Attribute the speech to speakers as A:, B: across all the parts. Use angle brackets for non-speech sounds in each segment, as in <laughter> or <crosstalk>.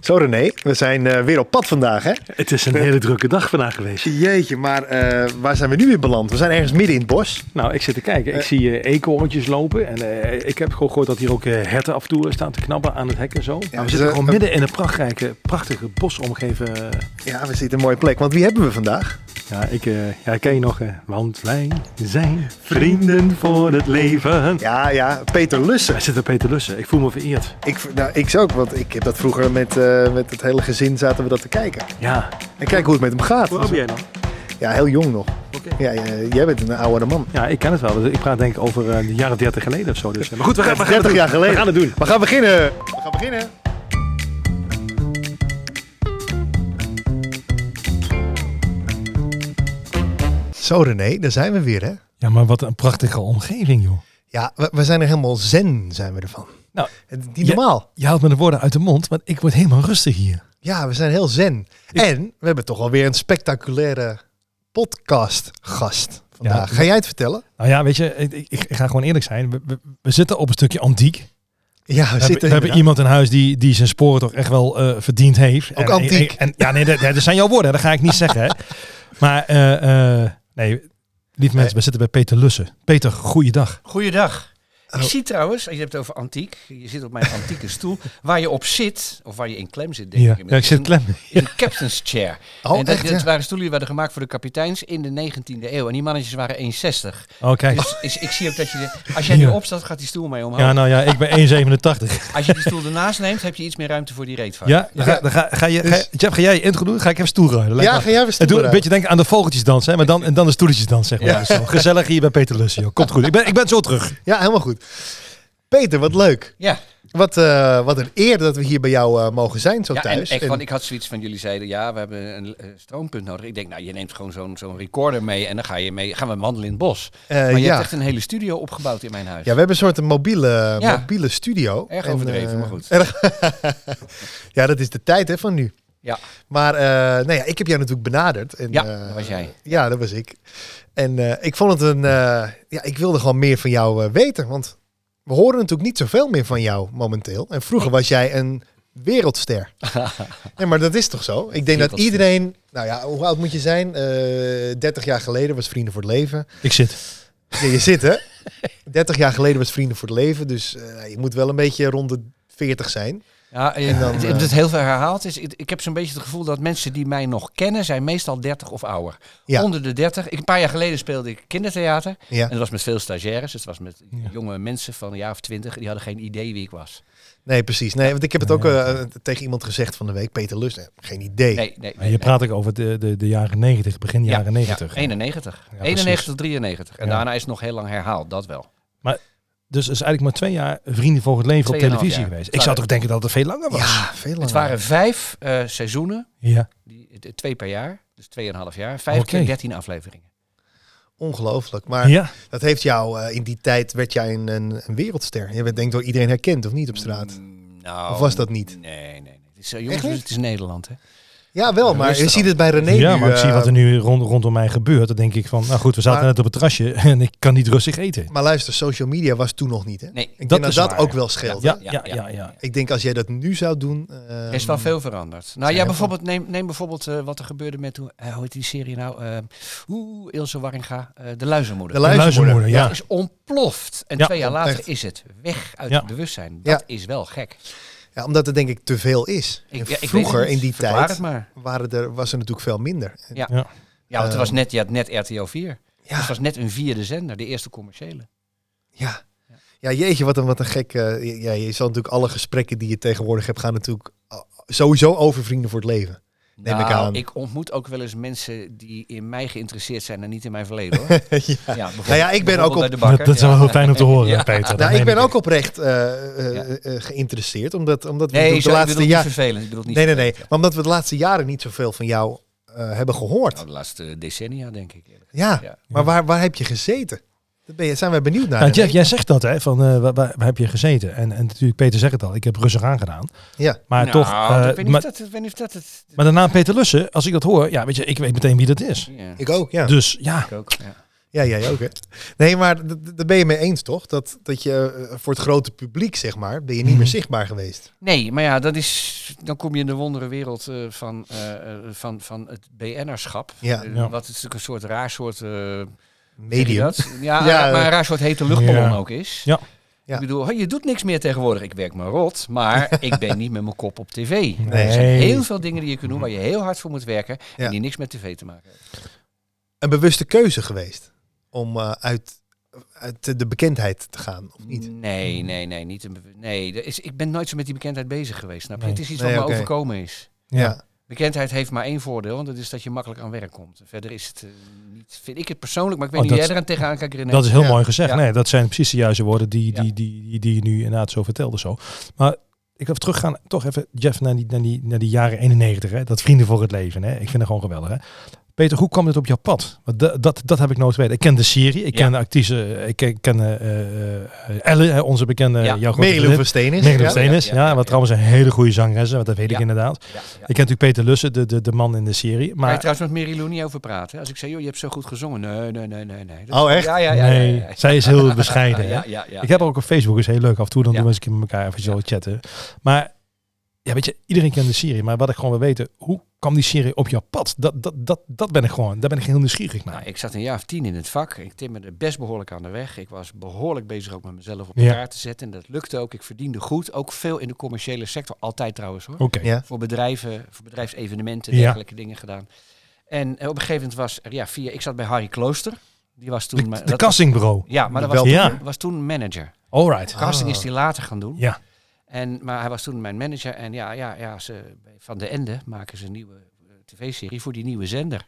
A: Zo René, we zijn eh, weer op pad vandaag hè?
B: Het is een hele drukke dag vandaag geweest.
A: Jeetje, maar eh, waar zijn we nu weer beland? We zijn ergens midden in het bos.
B: Nou, ik zit te kijken. Ik zie eh eekhoorntjes lopen. En eh, ik heb gewoon gehoord dat hier ook eh, herten af en toe staan te knappen aan het hek en zo. Maar we
A: dus,
B: zitten
A: eh,
B: gewoon
A: eh,
B: midden in een prachtrijke, prachtige bosomgeven.
A: Ja, we zitten in een mooie plek. Want wie hebben we vandaag?
B: Ja, ik eh, ja, ken je nog. eh, want wij zijn vrienden voor het leven.
A: Ja, ja, Peter Lussen.
B: Wij zitten Peter Lussen. Ik voel me vereerd.
A: Ik, nou, ik ook, want ik heb dat vroeger met, eh, met het hele gezin zaten we dat te kijken.
B: Ja.
A: En kijk hoe het met hem gaat.
B: dan?
A: Ja, heel jong nog.
B: Oké.
A: Ja, eh, jij bent een oudere man.
B: Ja, ik ken het wel. Dus ik praat denk ik over eh, de jaren 30 geleden of zo. Dus. eh, Maar goed, we gaan, we gaan het
A: 30
B: doen.
A: jaar geleden.
B: We gaan het doen.
A: We gaan beginnen. We gaan beginnen. Zo René, daar zijn we weer hè.
C: Ja, maar wat een prachtige omgeving, joh.
A: Ja, we, we zijn er helemaal zen zijn we ervan.
C: Nou,
A: Het is Niet normaal.
C: Je haalt me de woorden uit de mond, want ik word helemaal rustig hier.
A: Ja, we zijn heel zen. En we hebben toch alweer een spectaculaire podcast gast vandaag.
C: Ja.
A: Ga jij het vertellen?
C: Nou ja, weet je, ik, ik, ik ga gewoon eerlijk zijn. We, we, we zitten op een stukje antiek. We,
A: Ja, we,
C: hebben, we hebben iemand in huis die, die zijn sporen toch echt wel eh, verdiend heeft.
A: Ook antiek.
C: En, en- ja, nee, dat, dat zijn jouw woorden, dat ga <laughs> ik niet zeggen. Hè. Maar, eh, eh, nee, lieve mensen, we zitten bij Peter Lussen. Peter, goeiedag.
D: Goeiedag.
A: Oh.
D: Ik zie trouwens, je hebt het over antiek. Je zit op mijn antieke stoel. Waar je op zit, of waar je in klem zit, denk
C: Ja,
D: ik.
C: ja, ik zit klem.
D: In een captain's chair.
A: <laughs> Oh,
D: en dat,
A: echt,
D: dit
A: ja?
D: waren stoelen die werden gemaakt voor de kapiteins in de 19e eeuw. En die mannetjes waren 1,60.
C: Oh, kijk.
D: Dus is, ik zie ook dat je... de- als jij nu
C: Ja.
D: opstaat, gaat die stoel mee omhoog.
C: Ja, nou ja, ik ben 1,87.
D: Als je die stoel ernaast neemt, heb je iets meer ruimte voor die reetvaart.
C: Ja, Dus- dan ga, dan ga, ga je, ga, Jeff, ga jij je intro doen? Ga ik even stoer ruilen? Lijkt
A: Ja,
C: me-
A: ga jij even
C: Het
A: stoer
C: doet een
A: ruilen.
C: beetje denken aan de vogeltjesdans, hè? Maar dan, en dan de stoeltjesdans, zeg maar.
A: Ja.
C: Dus zo. Gezellig hier bij Peter Lussen, joh. Komt goed. Ik ben, ik ben zo terug.
A: Ja, helemaal goed. Peter, wat leuk.
D: Ja,
A: Wat, eh, wat een eer dat we hier bij jou eh, mogen zijn zo
D: ja en
A: thuis.
D: echt,
A: En-
D: want ik had zoiets van, jullie zeiden, ja, we hebben een eh, stroompunt nodig. Ik denk, nou, je neemt gewoon zo'n zo'n recorder mee en dan ga je mee, gaan we wandelen in het bos.
A: eh,
D: maar je
A: ja.
D: hebt echt een hele studio opgebouwd in mijn huis.
A: ja, we hebben een soort een mobiele,
D: Ja.
A: mobiele studio.
D: Erg
A: En,
D: overdreven,
A: eh,
D: maar goed.
A: erg- <laughs> ja, dat is de tijd hè, van nu.
D: Ja.
A: Maar eh, nou ja, ik heb jou natuurlijk benaderd. En,
D: Ja,
A: eh,
D: dat was jij.
A: Ja, dat was ik. En eh, ik vond het een... eh, ja, ik wilde gewoon meer van jou eh, weten. Want we horen natuurlijk niet zoveel meer van jou momenteel. En vroeger was jij een
D: <laughs>
A: wereldster. nee, maar dat is toch zo? Ik denk dat
D: Wereldster.
A: iedereen... Nou ja, hoe oud moet je zijn? Eh 30 jaar geleden was Vrienden voor het Leven.
C: Ik zit.
A: Ja, je zit hè? 30 jaar geleden was Vrienden voor het Leven. Dus eh, je moet wel een beetje rond de 40 zijn.
D: Ja, eh,
A: dan,
D: het,
A: eh,
D: het, het heel veel herhaald is. Ik, ik heb zo'n beetje het gevoel dat mensen die mij nog kennen, zijn meestal 30 of ouder.
A: Ja.
D: Onder de 30. Ik, een paar jaar geleden speelde ik kindertheater.
A: Ja.
D: En dat was met veel stagiaires. Het was met
C: Ja.
D: jonge mensen van een jaar of twintig. Die hadden geen idee wie ik was.
A: Nee, precies. Nee, want ik heb het ook
C: Nee,
A: eh, tegen iemand gezegd van de week. Peter Lust, eh, geen idee.
D: Nee, nee.
C: Maar je praat ook over de, de, de jaren 90, begin
D: Ja,
C: jaren
D: ja,
C: 90.
D: 91.
C: Ja,
D: 91, 93. En
C: Ja.
D: daarna is het nog heel lang herhaald. Dat wel.
C: Dus het is eigenlijk maar twee jaar Vrienden voor het Leven op
D: Tweeënhalf
C: televisie
D: jaar.
C: geweest. Ik
D: Waren-
C: zou toch denken dat het veel langer was?
A: Ja, veel langer.
D: Het waren vijf eh, seizoenen.
C: Ja.
D: Die, eh, de- twee per jaar. Dus tweeënhalf jaar. Vijf
C: Oké.
D: keer 13 afleveringen.
A: Ongelooflijk.
C: Ja.
A: Maar dat heeft jou, eh, in die tijd werd jij een, een, een wereldster. Je werd denk ik door iedereen herkend, of niet, op straat?
D: Mm, nou,
A: Of was dat niet?
D: Nee, nee. nee. Het is, eh,
A: Echt niet?
D: jongens, het is Nederland, hè?
A: Ja, wel, maar je
D: rustig
A: ziet het bij René
C: ja,
A: nu,
C: maar ik zie
A: eh,
C: wat er nu rond, rondom mij gebeurt. Dan denk ik van, nou goed, we zaten
A: Maar-
C: net op het terrasje <laughs> en ik kan niet rustig eten.
A: maar luister, social media was toen nog niet, hè?
D: Nee.
A: Ik
C: Dat
A: denk dat
C: is
A: dat
C: waar.
A: ook wel scheelt.
C: Ja,
D: Ja,
C: ja,
D: ja,
C: ja,
D: ja.
C: ja.
A: Ik denk als jij dat nu zou doen... eh,
D: Er is wel veel veranderd. Nou
A: heel
D: ja, bijvoorbeeld, neem, neem bijvoorbeeld eh, wat er gebeurde met, hoe, eh, hoe heet die serie nou? Eh, Oeh, Ilse Warringa, eh, De Luizenmoeder.
A: De luizenmoeder.
C: luizenmoeder, ja.
D: Dat is ontploft. En
C: Ja,
D: twee jaar later
A: echt.
D: is het weg uit
C: Ja.
D: het bewustzijn. Dat is wel gek.
A: Ja, omdat het denk ik te veel is. En
D: Ik- ja, ik weet
A: vroeger,
D: het
A: in
D: niet.
A: die
D: Verklaar
A: tijd,
D: het maar.
A: waren er, was er natuurlijk veel minder.
D: Ja, want het
A: Eh,
D: was net, je had net RTL 4. Het
A: Ja,
D: was net een vierde zender, de eerste commerciële.
A: ja. ja jeetje, wat een, wat een gek... eh, ja, je zal natuurlijk alle gesprekken die je tegenwoordig hebt... gaan natuurlijk eh, sowieso over vrienden voor het leven.
D: <laughs>
A: Neem ik aan.
D: Nou, ik ontmoet ook wel eens mensen die in mij geïnteresseerd zijn en niet in mijn
A: <laughs>
D: verleden hoor. ja, bijvoorbeeld-
A: Nou ja, ik ben ook
D: bijvoorbeeld
A: op-
D: bij de
C: Dat,
D: bakker,
C: dat is wel
D: ja.
C: heel fijn om te horen, Peter. Dat
A: Nou,
C: meen
A: ik ben
C: ik.
A: ook oprecht eh, eh, eh, geïnteresseerd, omdat, omdat we
D: Nee,
A: natuurlijk
D: zo,
A: de
D: ik
A: laatste
D: bedoel niet
A: jaren.
D: vervelend. Ik bedoel niet
A: Nee, nee, nee. Maar omdat we de laatste jaren niet zoveel van jou eh, hebben gehoord.
D: Nou, de laatste decennia, denk ik. eerlijk.
A: Ja,
D: Ja.
C: Ah,
A: maar waar, waar heb je gezeten? Daar ben je, zijn wij benieuwd naar.
C: Nou,
A: René.
C: Jeff, jij zegt dat, hè? Van, eh, waar, waar- waar heb je gezeten? En, en natuurlijk, Peter zegt het al, ik heb rustig aangedaan.
A: Ja.
C: Maar
D: Nou,
C: toch, eh,
D: ik weet niet
C: maar,
D: of dat- ik weet niet of dat het...
C: maar de naam Peter Lussen, als ik dat hoor, ja, weet je, ik weet meteen wie dat is.
D: Ja,
A: Ik ook, ja.
C: Dus ja,
D: ik ook, ja.
A: Ja, jij ook, hè? Nee, maar d- d- daar ben je mee eens, toch? Dat, dat je eh, voor het grote publiek, zeg maar, ben je niet meer
C: Mhm.
A: zichtbaar geweest.
D: Nee, maar ja, dat is, dan kom je in de wondere wereld eh, van, eh, eh, van, van het BN'erschap.
A: Ja.
D: Eh,
C: Ja.
D: Wat natuurlijk een soort raar soort... eh, zeg je
A: Medium.
D: dat? Ja,
A: Ja,
D: maar
A: eh.
D: een raar soort hete luchtballon
C: Ja.
D: ook is.
C: Ja.
A: Ja.
D: Ik bedoel, je doet niks meer tegenwoordig. Ik werk me rot, maar
A: <laughs>
D: ik ben niet met mijn kop op tv. Er zijn
C: Nee.
D: heel veel dingen die je kunt doen waar je heel hard voor moet werken
A: Ja.
D: en die niks met tv te maken hebben.
A: Een bewuste keuze geweest om eh, uit, uit de bekendheid te gaan, of niet?
D: Nee, nee, nee, niet een, be- nee. Er is, ik ben nooit zo met die bekendheid bezig geweest. Snap je?
C: Nee.
D: Het is iets
A: Nee,
D: wat
A: oké.
D: me overkomen is.
A: Ja.
D: Bekendheid heeft maar één voordeel, en dat is dat je makkelijk aan werk komt. Verder is het eh, niet, vind ik het persoonlijk, maar ik weet
C: Oh,
D: niet
C: dat-
D: hoe jij eraan tegenaan kijkt, René.
C: Dat is heel
A: Ja.
C: mooi gezegd.
D: Ja.
C: Nee, dat zijn precies de juiste woorden die, die, die,
D: Ja.
C: die, die je nu inderdaad zo vertelde. Zo. Maar ik wil teruggaan, toch even, Jeff, naar die, naar die, naar die jaren 91. Hè? Dat Vrienden voor het Leven. Hè? Ik vind het gewoon geweldig. Hè? Peter, hoe kwam dit op jouw pad? Want dat, dat, dat heb ik nooit weten. Ik ken de serie, ik
D: Ja.
C: ken de actrice, ik ken, ik ken eh, eh, eh, Ellen, hè, onze bekende,
D: Ja.
C: jouw grote
A: Merel
C: vriendin.
A: Verstenis.
C: Merel
A: ja.
C: Steenis,
D: Ja,
C: ja,
D: ja, ja,
C: wat
D: ja.
C: trouwens een hele goede zangeres, is, want dat weet ik
D: Ja.
C: inderdaad.
D: Ja, ja.
C: Ik ken natuurlijk Peter Lussen, de, de, de man in de serie.
D: Ga je
C: Maar
D: trouwens met Merilou niet over praten? Als ik zei, joh, je hebt zo goed gezongen. Nee, nee, nee, nee. nee.
A: Oh, echt?
D: Ja, ja, ja.
C: nee,
D: ja, ja,
C: zij is heel
D: ja.
C: bescheiden. hè?
D: Ja, ja, ja.
C: Ik heb ook op Facebook, is heel leuk. Af en toe dan
D: Ja.
C: doen we eens een keer met elkaar even zo chatten. Maar ja, weet je, iedereen kent de serie. Maar wat ik gewoon wil weten, hoe kwam die serie op jouw pad? Dat, dat, dat, dat ben ik gewoon, daar ben ik heel nieuwsgierig naar.
D: Nou, ik zat een jaar of tien in het vak. Ik timmerde best behoorlijk aan de weg. Ik was behoorlijk bezig ook met mezelf op
C: Ja.
D: elkaar te zetten. En dat lukte ook. Ik verdiende goed. Ook veel in de commerciële sector. Altijd trouwens hoor.
C: Oké.
A: Ja.
D: voor bedrijven, voor bedrijfsevenementen,
C: Ja.
D: dergelijke dingen gedaan. En eh, op een gegeven moment was er, ja, via, ik zat bij Harry Klooster. Die was toen.
C: De,
D: mijn-
C: de
D: dat-
C: castingbureau.
D: Ja, maar dat
A: Wel-
D: was,
C: Ja.
D: was toen manager.
C: Alright.
D: Casting is die later gaan doen.
C: Ja.
D: En, maar hij was toen mijn manager. En ja, ja, ja ze, van de Ende maken ze een nieuwe eh, tv-serie voor die nieuwe zender.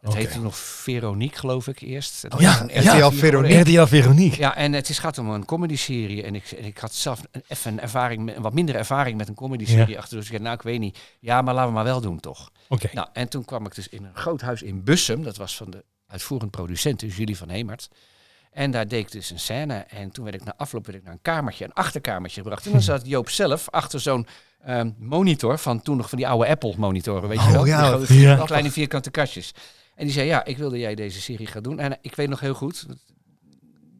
D: Het
C: Oké.
D: heette nog Veronique, geloof ik, eerst. Het
C: Oh
D: was
C: ja,
D: een
C: ja.
D: RTL4
A: RTL Veronique.
D: geworden.
C: RTL Veronique.
D: Ja, en het is, gaat om een comedy-serie. En ik, en ik had zelf een, even een ervaring, met- een wat minder ervaring met een comedy-serie achter. Dus ik zei, nou, ik weet niet. Ja, maar laten we maar wel doen, toch?
C: Oké.
D: Nou, en toen kwam ik dus in een groot huis in Bussum. Dat was van de uitvoerend producent, dus Julie van Hemert. En daar deed ik dus een scène. En toen werd ik na afloop werd ik naar een kamertje, een achterkamertje gebracht.
A: Hm.
D: En dan zat Joop zelf achter zo'n ehm, monitor van toen nog van die oude Apple-monitoren, weet
A: Oh,
D: je wel?
A: ja, wat
D: Die grote
C: grappig.
D: vier- kleine vierkante kastjes. En die zei, ja, ik wil dat jij deze serie gaat doen. En eh, ik weet nog heel goed, want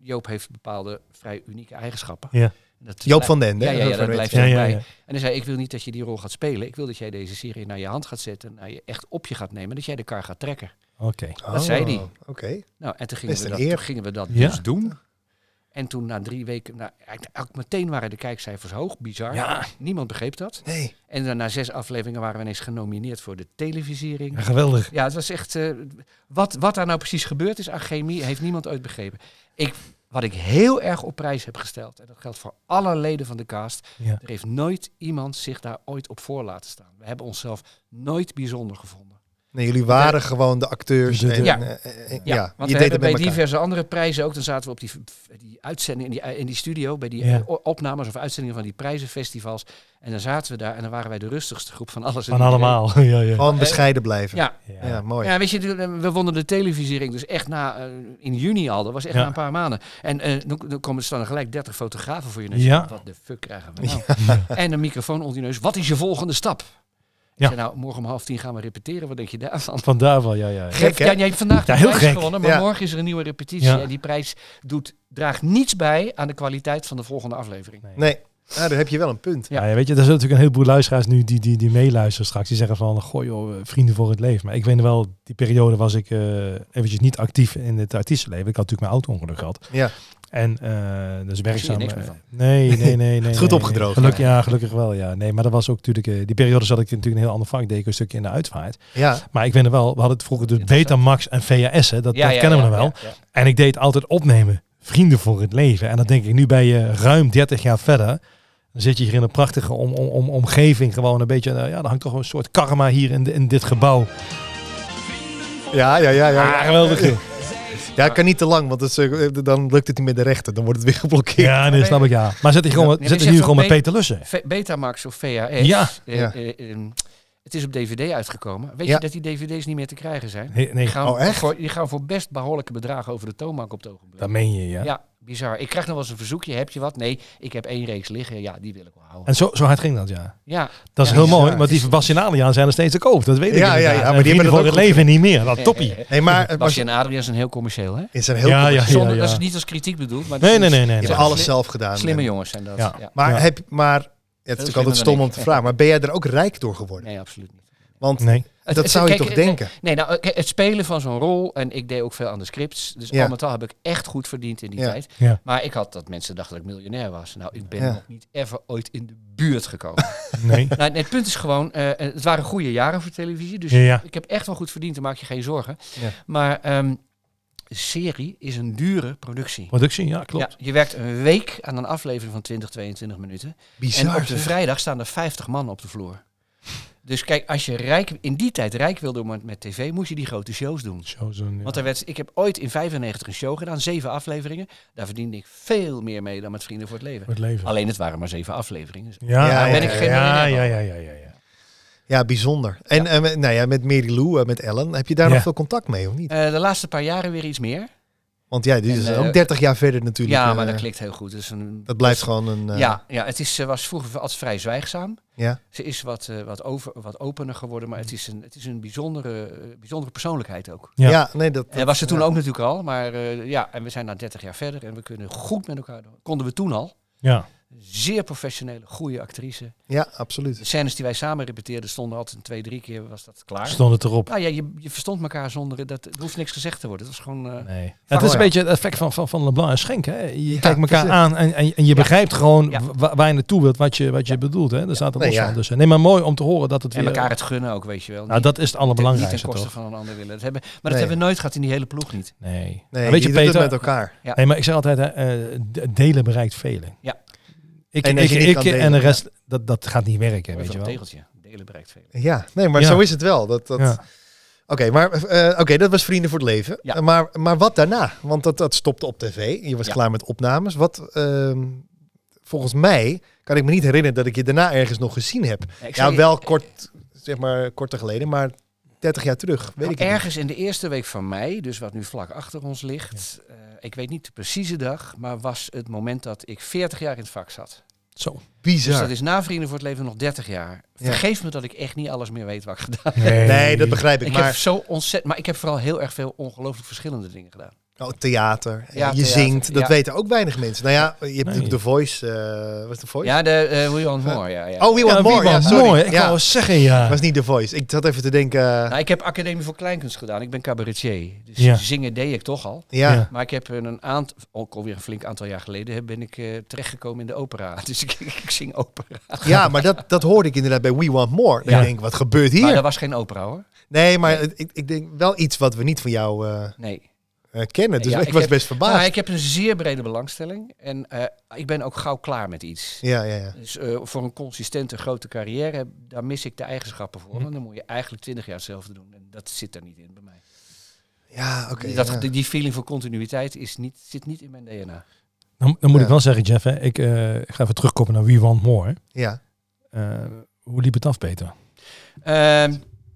D: Joop heeft bepaalde vrij unieke eigenschappen.
C: Ja.
D: Dat
A: Joop
D: blij-
A: van den, hè?
D: Ja, ja, ja,
A: Voor
D: dat
A: de
D: blijft
A: mensen.
D: ook
C: Ja, ja,
D: bij.
C: ja.
D: En hij zei, ik wil niet dat je die rol gaat spelen. Ik wil dat jij deze serie naar je hand gaat zetten. Naar je echt op je gaat nemen. Dat jij de kar gaat trekken.
C: Oké.
D: Dat zei die.
A: Oh, Oké.
D: Nou, en toen gingen,
A: Best
D: we
A: een
D: dat,
A: eer.
D: toen gingen we dat
C: Ja.
D: dus doen. En toen na drie weken, nou, eigenlijk ook meteen waren de kijkcijfers hoog. Bizar.
C: Ja.
D: Niemand begreep dat.
A: Nee.
D: En dan na zes afleveringen waren we ineens genomineerd voor de televisiering.
C: Ja, geweldig.
D: Ja, het was echt. eh, wat, wat daar nou precies gebeurd is aan chemie, heeft niemand ooit begrepen. Ik, wat ik heel erg op prijs heb gesteld, en dat geldt voor alle leden van de cast,
C: Ja.
D: er heeft nooit iemand zich daar ooit op voor laten staan. We hebben onszelf nooit bijzonder gevonden.
A: nee, jullie waren gewoon de acteurs.
C: Ja.
A: En,
D: Ja.
A: eh, eh, eh,
D: Ja,
A: ja, je deed het
D: want we hebben
A: met
D: bij
A: elkaar.
D: diverse andere prijzen ook. Dan zaten we op die, die uitzending, in die, eh, in die studio, bij die
C: Ja.
D: eh, o- opnames of uitzendingen van die prijzenfestivals. En dan zaten we daar en dan waren wij de rustigste groep van alles. en
C: Van
D: iedereen.
C: allemaal. <laughs> ja, ja.
A: Gewoon bescheiden blijven. Ja,
D: Ja.
C: Ja.
A: mooi.
D: ja, weet je, we wonnen de televisiering dus echt na, eh, in juni al. Dat was echt
C: Ja.
D: na een paar maanden. En eh, dan, dan komen er staan er gelijk 30 fotografen voor je neus.
C: Ja.
D: Wat de fuck krijgen we
C: <laughs>
D: nou? En een microfoon onder je neus. Wat is je volgende stap?
C: Ja.
D: Ik zei, nou, morgen om half tien gaan we repeteren. Wat denk je daarvan?
C: Vandaar wel, ja, ja. ja.
A: Gek, hè?
D: Ja, jij hebt vandaag de
C: Ja, heel
D: prijs
C: gek.
D: gewonnen, maar
A: Ja.
D: morgen is er een nieuwe repetitie.
C: Ja.
D: En die prijs doet, draagt niets bij aan de kwaliteit van de volgende aflevering.
A: Nee, nou, daar heb je wel een punt.
D: Ja.
C: Ja. weet je, er zijn natuurlijk een heleboel luisteraars nu die, die, die meeluisteren straks. Die zeggen van, goh joh, eh, vrienden voor het leven. Maar ik weet wel, die periode was ik eh, eventjes niet actief in het artiestenleven. Ik had natuurlijk mijn auto-ongeluk gehad.
A: Ja.
C: En eh dus werkzaam...
D: niks
C: eh,
D: meer van.
C: Nee,
A: <laughs>
C: nee, nee. nee
A: Goed
C: nee, nee.
A: opgedroogd,
C: Geluk, ja, gelukkig wel, ja. Nee, maar dat was ook natuurlijk... eh, die periode zat ik natuurlijk in een heel ander vak. Deed ik een stukje in de uitvaart.
A: Ja,
C: Maar ik weet nog wel, we hadden het vroeger de
D: Interessant.
C: Betamax en VHS, hè. Dat,
D: Ja,
C: dat
D: ja,
C: kennen we
D: ja,
C: nog wel.
D: ja, ja.
C: En ik deed altijd opnemen. Vrienden voor het leven. En dan denk ik, nu ben je ruim 30 jaar verder. Dan zit je hier in een prachtige om, om, om, omgeving. Gewoon een beetje, eh, ja, dan hangt toch een soort karma hier in, de- in dit gebouw.
A: ja, ja, ja. ja.
C: Ah, geweldig. joh.
A: Ja, kan niet te lang, want dat is, eh, dan lukt het niet met de rechter. Dan wordt het weer geblokkeerd.
C: Ja, nee, snap ik, ja. Maar zit, hier gewoon,
D: maar je
C: zit er
D: zegt
C: nu
D: wel
C: gewoon met
D: be-
C: Peter Lussen.
D: Ve- Betamax of VHS.
C: Ja.
D: eh,
A: Ja.
D: eh, eh, het is op DVD uitgekomen. Weet
A: Ja.
D: je dat die DVD's niet meer te krijgen zijn?
C: Nee, nee
D: Die gaan,
A: Oh, echt?
D: Voor, die gaan voor best behoorlijke bedragen over de toonbank op het ogenblik.
C: dat meen je, ja.
D: ja, bizar. Ik krijg nog wel eens een verzoekje. Heb je wat? Nee, ik heb één reeks liggen. Ja, die wil ik wel houden.
C: En zo, zo hard ging dat, ja.
D: Ja,
C: Dat is
D: Ja,
C: heel
A: bizar.
C: mooi, want die van Bastianaliaan zijn er steeds te koop. Dat weet ik
A: Ja, ja,
C: inderdaad.
A: ja, maar
C: En
A: die hebben
C: Vrienden
A: dat
C: voor
A: ook
C: het
A: goed
C: leven niet meer. Dat toppie.
A: Nee, maar het
D: <laughs>
A: was
D: Eh, Basje en Adriaan zijn heel commercieel, hè?
A: is een heel
C: Ja,
A: goed-
C: ja.
D: Zonder, Dat is niet als kritiek bedoeld. Maar dat
C: Nee,
D: is-
C: nee, nee, nee.
A: Je
C: nee.
A: hebt
D: Ja.
A: alles zelf eh, gedaan.
D: Slimme jongens zijn dat.
C: Ja.
D: Ja.
A: Maar
C: Ja.
A: heb maar ja, het is natuurlijk
D: slimmer
A: altijd stom
D: dan
A: om
D: ik.
A: te vragen, maar ben jij er ook rijk door geworden?
D: Nee, absoluut niet.
A: Want
C: Nee.
D: Het-
A: dat
D: het-
A: zou je
D: kijk,
A: toch
D: eh,
A: denken?
D: Nee, nou, eh, het spelen van zo'n rol. En ik deed ook veel aan de scripts. Dus
A: Ja.
D: al met al heb ik echt goed verdiend in die
A: Ja.
D: tijd.
C: Ja.
D: Maar ik had dat mensen dachten dat ik miljonair was. Nou, ik ben
A: Ja.
D: nog niet even ooit in de buurt gekomen.
A: <laughs>
C: Nee.
D: nou, het punt is gewoon, eh, het waren goede jaren voor televisie. Dus
C: Ja, ja.
D: ik heb echt wel goed verdiend, daar maak je geen zorgen.
A: Ja.
D: Maar ehm, serie is een dure productie.
C: Productie, ja, klopt.
D: Ja, je werkt een week aan een aflevering van 20, 22 minuten.
A: Bizar.
D: en op de
A: zeg.
D: vrijdag staan er 50 man op de vloer. Dus kijk, als je rijk, in die tijd rijk wilde worden met tv, moest je die grote shows doen.
C: Zo, zo'n, ja.
D: Want er werd, ik heb ooit in 95 een show gedaan, zeven afleveringen. Daar verdiende ik veel meer mee dan met Vrienden voor het Leven.
C: Voor het leven.
D: Alleen het waren maar zeven afleveringen.
C: Ja,
A: Ja,
C: ja,
A: ben ik
C: ja,
A: geen
C: ja, ja,
D: miljonair
C: ja, ja, ja, ja.
A: Ja, bijzonder. En eh, met- nou ja, met Mary Lou, eh, met Ellen, heb je daar
C: Ja.
A: nog veel contact mee of niet?
D: Eh, de laatste paar jaren weer iets meer.
A: Want ja, dit
D: en,
A: is
D: eh,
A: ook 30 jaar verder natuurlijk.
D: ja,
A: eh,
D: maar dat klikt heel goed. Dus een,
A: dat blijft gewoon een... eh,
D: ja, ja, het is, ze was vroeger altijd vrij zwijgzaam.
A: Ja.
D: Ze is wat, eh, wat, over, wat opener geworden, maar het is een, het is een bijzondere, eh, bijzondere persoonlijkheid ook.
C: Ja.
A: Ja. nee, Mm. dat...
D: En was ze toen
A: ja.
D: ook natuurlijk al, maar eh, ja, en we zijn na 30 jaar verder en we kunnen goed met elkaar doen. Konden we toen al.
C: Ja,
D: Zeer professionele, goede actrice.
A: Ja,
D: De
A: absoluut.
D: scènes die wij samen repeteerden stonden altijd een twee, drie keer was dat klaar.
C: stond het erop.
D: Nou ja, je, je verstond elkaar zonder, dat, er hoeft niks gezegd te worden. Het was gewoon... eh,
C: Nee. Ja, het is een beetje het effect van, van, van Leblanc en Schenk. Hè? Je kijkt elkaar
A: precies.
C: aan en, en, en je begrijpt gewoon
D: Ja.
C: wa- waar, je naartoe wilt, wat je, wat je bedoelt. Hè? Daar staat het
A: Nee,
C: los
A: ja.
C: van. Dus, eh, nee, maar mooi om te horen dat het
D: en
C: weer...
D: elkaar
A: eh,
D: het gunnen ook, weet je wel.
C: nou, dat is het
D: Niet
C: allerbelangrijkste,
D: ten koste
C: toch?
D: van een ander willen. Dat hebben, maar dat
A: Nee.
D: hebben we nooit gehad in die hele ploeg niet.
C: Nee.
A: Nee,
C: Maar weet je,
A: doet het
C: Peter...
A: met elkaar.
D: Ja.
C: Nee, maar ik zeg altijd, hè, eh, de- delen bereikt velen.
D: Ja.
C: Ik
A: En
C: en,
A: als
C: ik,
A: je niet
C: ik,
A: kan
C: en de
A: delen,
C: rest, dat, dat gaat niet werken,
D: Hoor
C: weet je
D: van
C: wel.
D: het tegeltje. Delen bereikt veel.
A: Ja, nee, maar
C: Ja.
A: zo is het wel. Dat, dat...
C: Ja.
A: Oké, maar eh, oké, dat was Vrienden voor het Leven.
D: Ja.
A: Eh, Maar, maar wat daarna? Want dat, dat stopte op tv. Je was
D: Ja.
A: klaar met opnames. Wat, ehm, volgens mij kan ik me niet herinneren dat ik je daarna ergens nog gezien heb.
D: Ik
A: Ja,
D: zei-
A: wel kort, zeg maar korter geleden, maar 30 jaar terug. Weet
D: Nou,
A: ik het
D: ergens in de eerste week van mei, dus wat nu vlak achter ons ligt. eh, ik weet niet de precieze dag, maar was het moment dat ik 40 jaar in het vak zat.
C: Zo.
A: niet.
D: Dus
A: Bizar.
D: dat is na Vrienden voor het Leven nog 30 jaar. Vergeef me dat ik echt niet alles meer weet wat ik gedaan
A: <laughs>
D: heb.
A: Nee, dat begrijp ik.
D: Ik heb
A: maar
D: zo ontzettend, maar ik heb vooral heel erg veel ongelooflijk verschillende dingen gedaan.
A: oh, theater, eh,
D: Ja,
A: je
D: theater,
A: zingt, dat
D: ja.
A: weten ook weinig mensen. Nou ja, je hebt natuurlijk The
C: Nee.
A: Voice. eh was The Voice?
D: Ja, de eh We Want More, ja. ja.
A: Oh, We Want
C: Ja,
A: More.
C: wie
A: Ja,
C: was
A: sorry.
C: mooi. Ik
A: ja,
C: wou eens zeggen, ja.
A: was
D: Ah.
A: niet The Voice. Ik zat even te denken. eh,
D: Nou, ik heb Academie voor Kleinkunst gedaan. Ik ben cabaretier. Dus
C: Ja.
D: zingen deed ik toch al.
A: ja.
C: ja.
D: Maar ik heb een een aantal, ook alweer een flink aantal jaar geleden, heb- ben ik eh, terechtgekomen in de opera. <laughs> Dus ik, ik zing opera.
A: Ja, maar dat, dat hoorde ik inderdaad bij We Want More. Dan
C: Ja.
A: Ik denk, wat gebeurt hier?
D: Maar dat was geen opera hoor.
A: Nee, maar het- ik, ik denk wel iets wat we niet van jou eh,
D: Nee.
A: eh, kennen. Dus
D: Ja,
A: ik,
D: ik
A: was
D: heb-
A: best verbaasd.
D: Maar ik heb een zeer brede belangstelling en eh, ik ben ook gauw klaar met iets.
A: Ja, ja, ja.
D: Dus eh, voor een consistente grote carrière, daar mis ik de eigenschappen
A: Hm.
D: voor. En dan moet je eigenlijk twintig jaar hetzelfde doen. En dat zit er niet in bij mij.
A: Ja, oké.
D: dat,
A: ja.
D: Die feeling voor continuïteit is niet, zit niet in mijn DNA.
C: Dan, dan moet
A: Ja.
C: ik wel zeggen, Jeff, hè, ik eh, ik ga even terugkomen naar We Want More.
A: Ja.
C: Eh, hoe liep het af, Peter?
D: Ehm,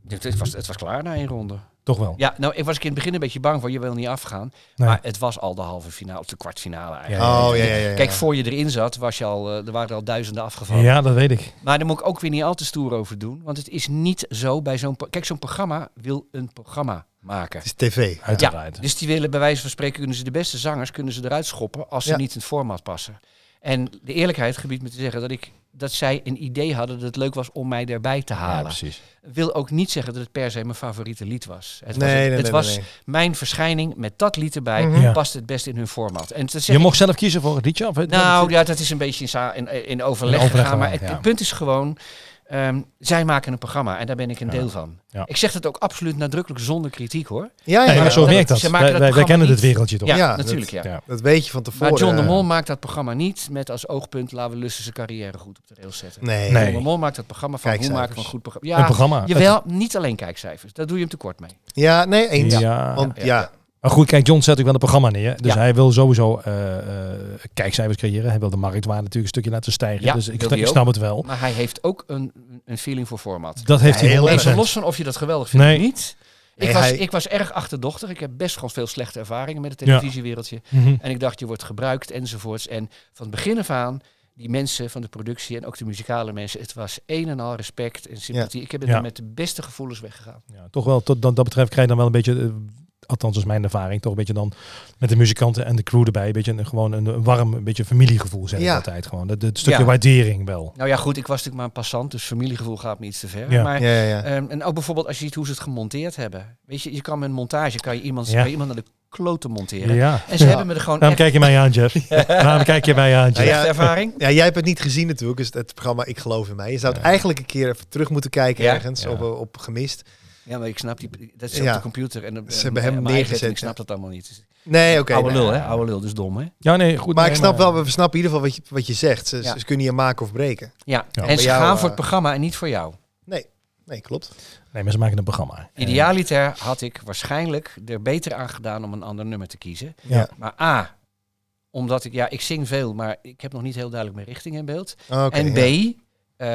D: het, het was, het was klaar na één ronde.
C: Toch wel?
D: Ja, nou, ik was ik in het begin een beetje bang voor. Je wil niet afgaan.
C: Nee.
D: Maar het was al de halve finale, of de kwartfinale eigenlijk.
C: Ja,
A: Oh, ja, ja, ja. ja.
D: Kijk, voor je erin zat, was je al, eh, er waren er al duizenden afgevallen.
C: Ja, dat weet ik.
D: Maar daar moet ik ook weer niet al te stoer over doen. Want het is niet zo bij zo'n... pro- Kijk, zo'n programma wil een programma maken.
A: Het is tv.
C: Uiteraard.
D: Dus die willen bij wijze van spreken, kunnen ze de beste zangers kunnen ze eruit schoppen als ze
A: Ja.
D: niet in het format passen. En de eerlijkheid gebiedt me te zeggen dat, ik, dat zij een idee hadden dat het leuk was om mij erbij te
C: Ja,
D: halen.
C: precies.
D: wil ook niet zeggen dat het per se mijn favoriete lied was. Het
A: Nee,
D: was,
A: nee,
D: het
A: nee, nee,
D: was
A: nee.
D: mijn verschijning met dat lied erbij.
A: Mhm.
C: Ja.
D: Past het best in hun format. En te
C: Je
D: zeggen,
C: mocht zelf kiezen voor het liedje? Of,
D: nou ja, dat is een beetje in, sa- in, in overleg
C: In overleg
D: gegaan. Maar
C: gegaan,
D: het,
C: ja.
D: het punt is gewoon, ehm, zij maken een programma en daar ben ik een
C: Ja.
D: deel van.
C: Ja.
D: Ik zeg dat ook absoluut nadrukkelijk zonder kritiek hoor.
A: Ja, ja,
C: Nee,
A: ja.
C: maar zo
D: dat-
C: werkt dat.
D: ze
C: Wij,
D: maken dat
C: wij- wij
D: programma
C: kennen dit
D: niet.
C: wereldje toch?
D: Ja,
A: Ja,
D: natuurlijk ja.
C: Ja.
A: Dat weet je van
D: Maar
A: tevoren.
D: John de
A: eh,
D: Mol maakt dat programma niet met als oogpunt laten we Lussen zijn carrière goed op de rails zetten.
A: Nee.
C: Nee.
D: John de Mol maakt dat programma van hoe
A: Kijkcijfers.
D: maken we een goed programma.
C: Een
D: Ja,
C: programma.
D: jawel, niet alleen kijkcijfers. Daar doe je hem tekort mee.
A: Ja, nee, eens.
C: Ja.
A: Want ja,
D: Ja.
C: Maar goed, kijk, John zet ook wel een programma neer. Dus
D: Ja.
C: hij wil sowieso eh, eh, kijkcijfers creëren. Hij wil de marktwaarde natuurlijk een stukje laten stijgen.
D: Ja,
C: dus ik,
D: wil
C: sta-
D: hij
C: ik
D: ook.
C: snap het wel.
D: Maar hij heeft ook een, een feeling voor format.
C: Dat heeft
A: Ja,
C: hij
A: heel
C: wel.
A: erg.
D: Even los van of je dat geweldig vindt
C: Nee.
D: of niet. Ik,
A: Nee,
D: was,
A: hij-
D: ik was erg achterdochtig. Ik heb best gewoon veel slechte ervaringen met het
C: Ja.
D: televisiewereldje.
C: Mhm.
D: En ik dacht, je wordt gebruikt enzovoorts. En van het begin af aan, die mensen van de productie en ook de muzikale mensen, het was een en al respect en sympathie. Ik heb er
C: Ja.
D: dan met de beste gevoelens weggegaan.
C: Ja, toch wel, tot, dat, dat betreft krijg je dan wel een beetje, eh, althans is mijn ervaring, toch een beetje dan met de muzikanten en de crew erbij, een beetje een, gewoon een, een warm, een beetje familiegevoel zeg ik
A: Ja.
C: altijd gewoon. Dat, dat stukje
D: Ja.
C: waardering wel.
D: Nou ja, goed, ik was natuurlijk maar een passant, dus familiegevoel gaat me iets te ver.
C: Ja.
D: Maar,
A: Ja, ja, ja.
D: ehm, en ook bijvoorbeeld als je ziet hoe ze het gemonteerd hebben. Weet je, je kan met een montage kan je iemand,
C: Ja.
D: kan je iemand naar de kloten monteren.
C: Ja.
D: En ze hebben me er gewoon
C: Waarom
D: echt
C: kijk je mij aan, Jeff? Waarom kijk je mij aan, Jeff?
A: Ja, ja.
D: slechte ervaring.
A: Ja, jij hebt het niet gezien natuurlijk, dus het programma Ik geloof in mij. Je zou het
C: Ja.
A: eigenlijk een keer even terug moeten kijken
D: Ja.
A: ergens
C: Ja.
A: op, op gemist.
D: Ja, maar ik snap die. Dat is op eh,
A: Ja.
D: de computer. En,
A: Ze hebben hem neergezet,
D: Ik snap dat allemaal niet. Dus-
A: Nee, oké. nou
D: Oude
A: nee.
D: lul, hè? Oude lul, dus dom, hè?
C: Ja, nee, goed.
A: Maar
C: nee,
A: ik snap wel, we snappen in ieder geval wat je, wat je zegt. Ze,
D: Ja.
A: ze kunnen je maken of breken.
D: Ja.
C: Ja.
D: En
A: Bij
D: ze
A: jou,
D: gaan
A: eh,
D: voor het programma en niet voor jou.
A: Nee, klopt.
C: Nee, maar ze maken een programma. Eh,
D: Idealiter had ik waarschijnlijk er beter aan gedaan om een ander nummer te kiezen.
A: Ja.
D: Maar A, omdat ik, ja, ik zing veel, maar ik heb nog niet heel duidelijk mijn richting in beeld.
A: Ah, Oké,
D: en B,
A: ja.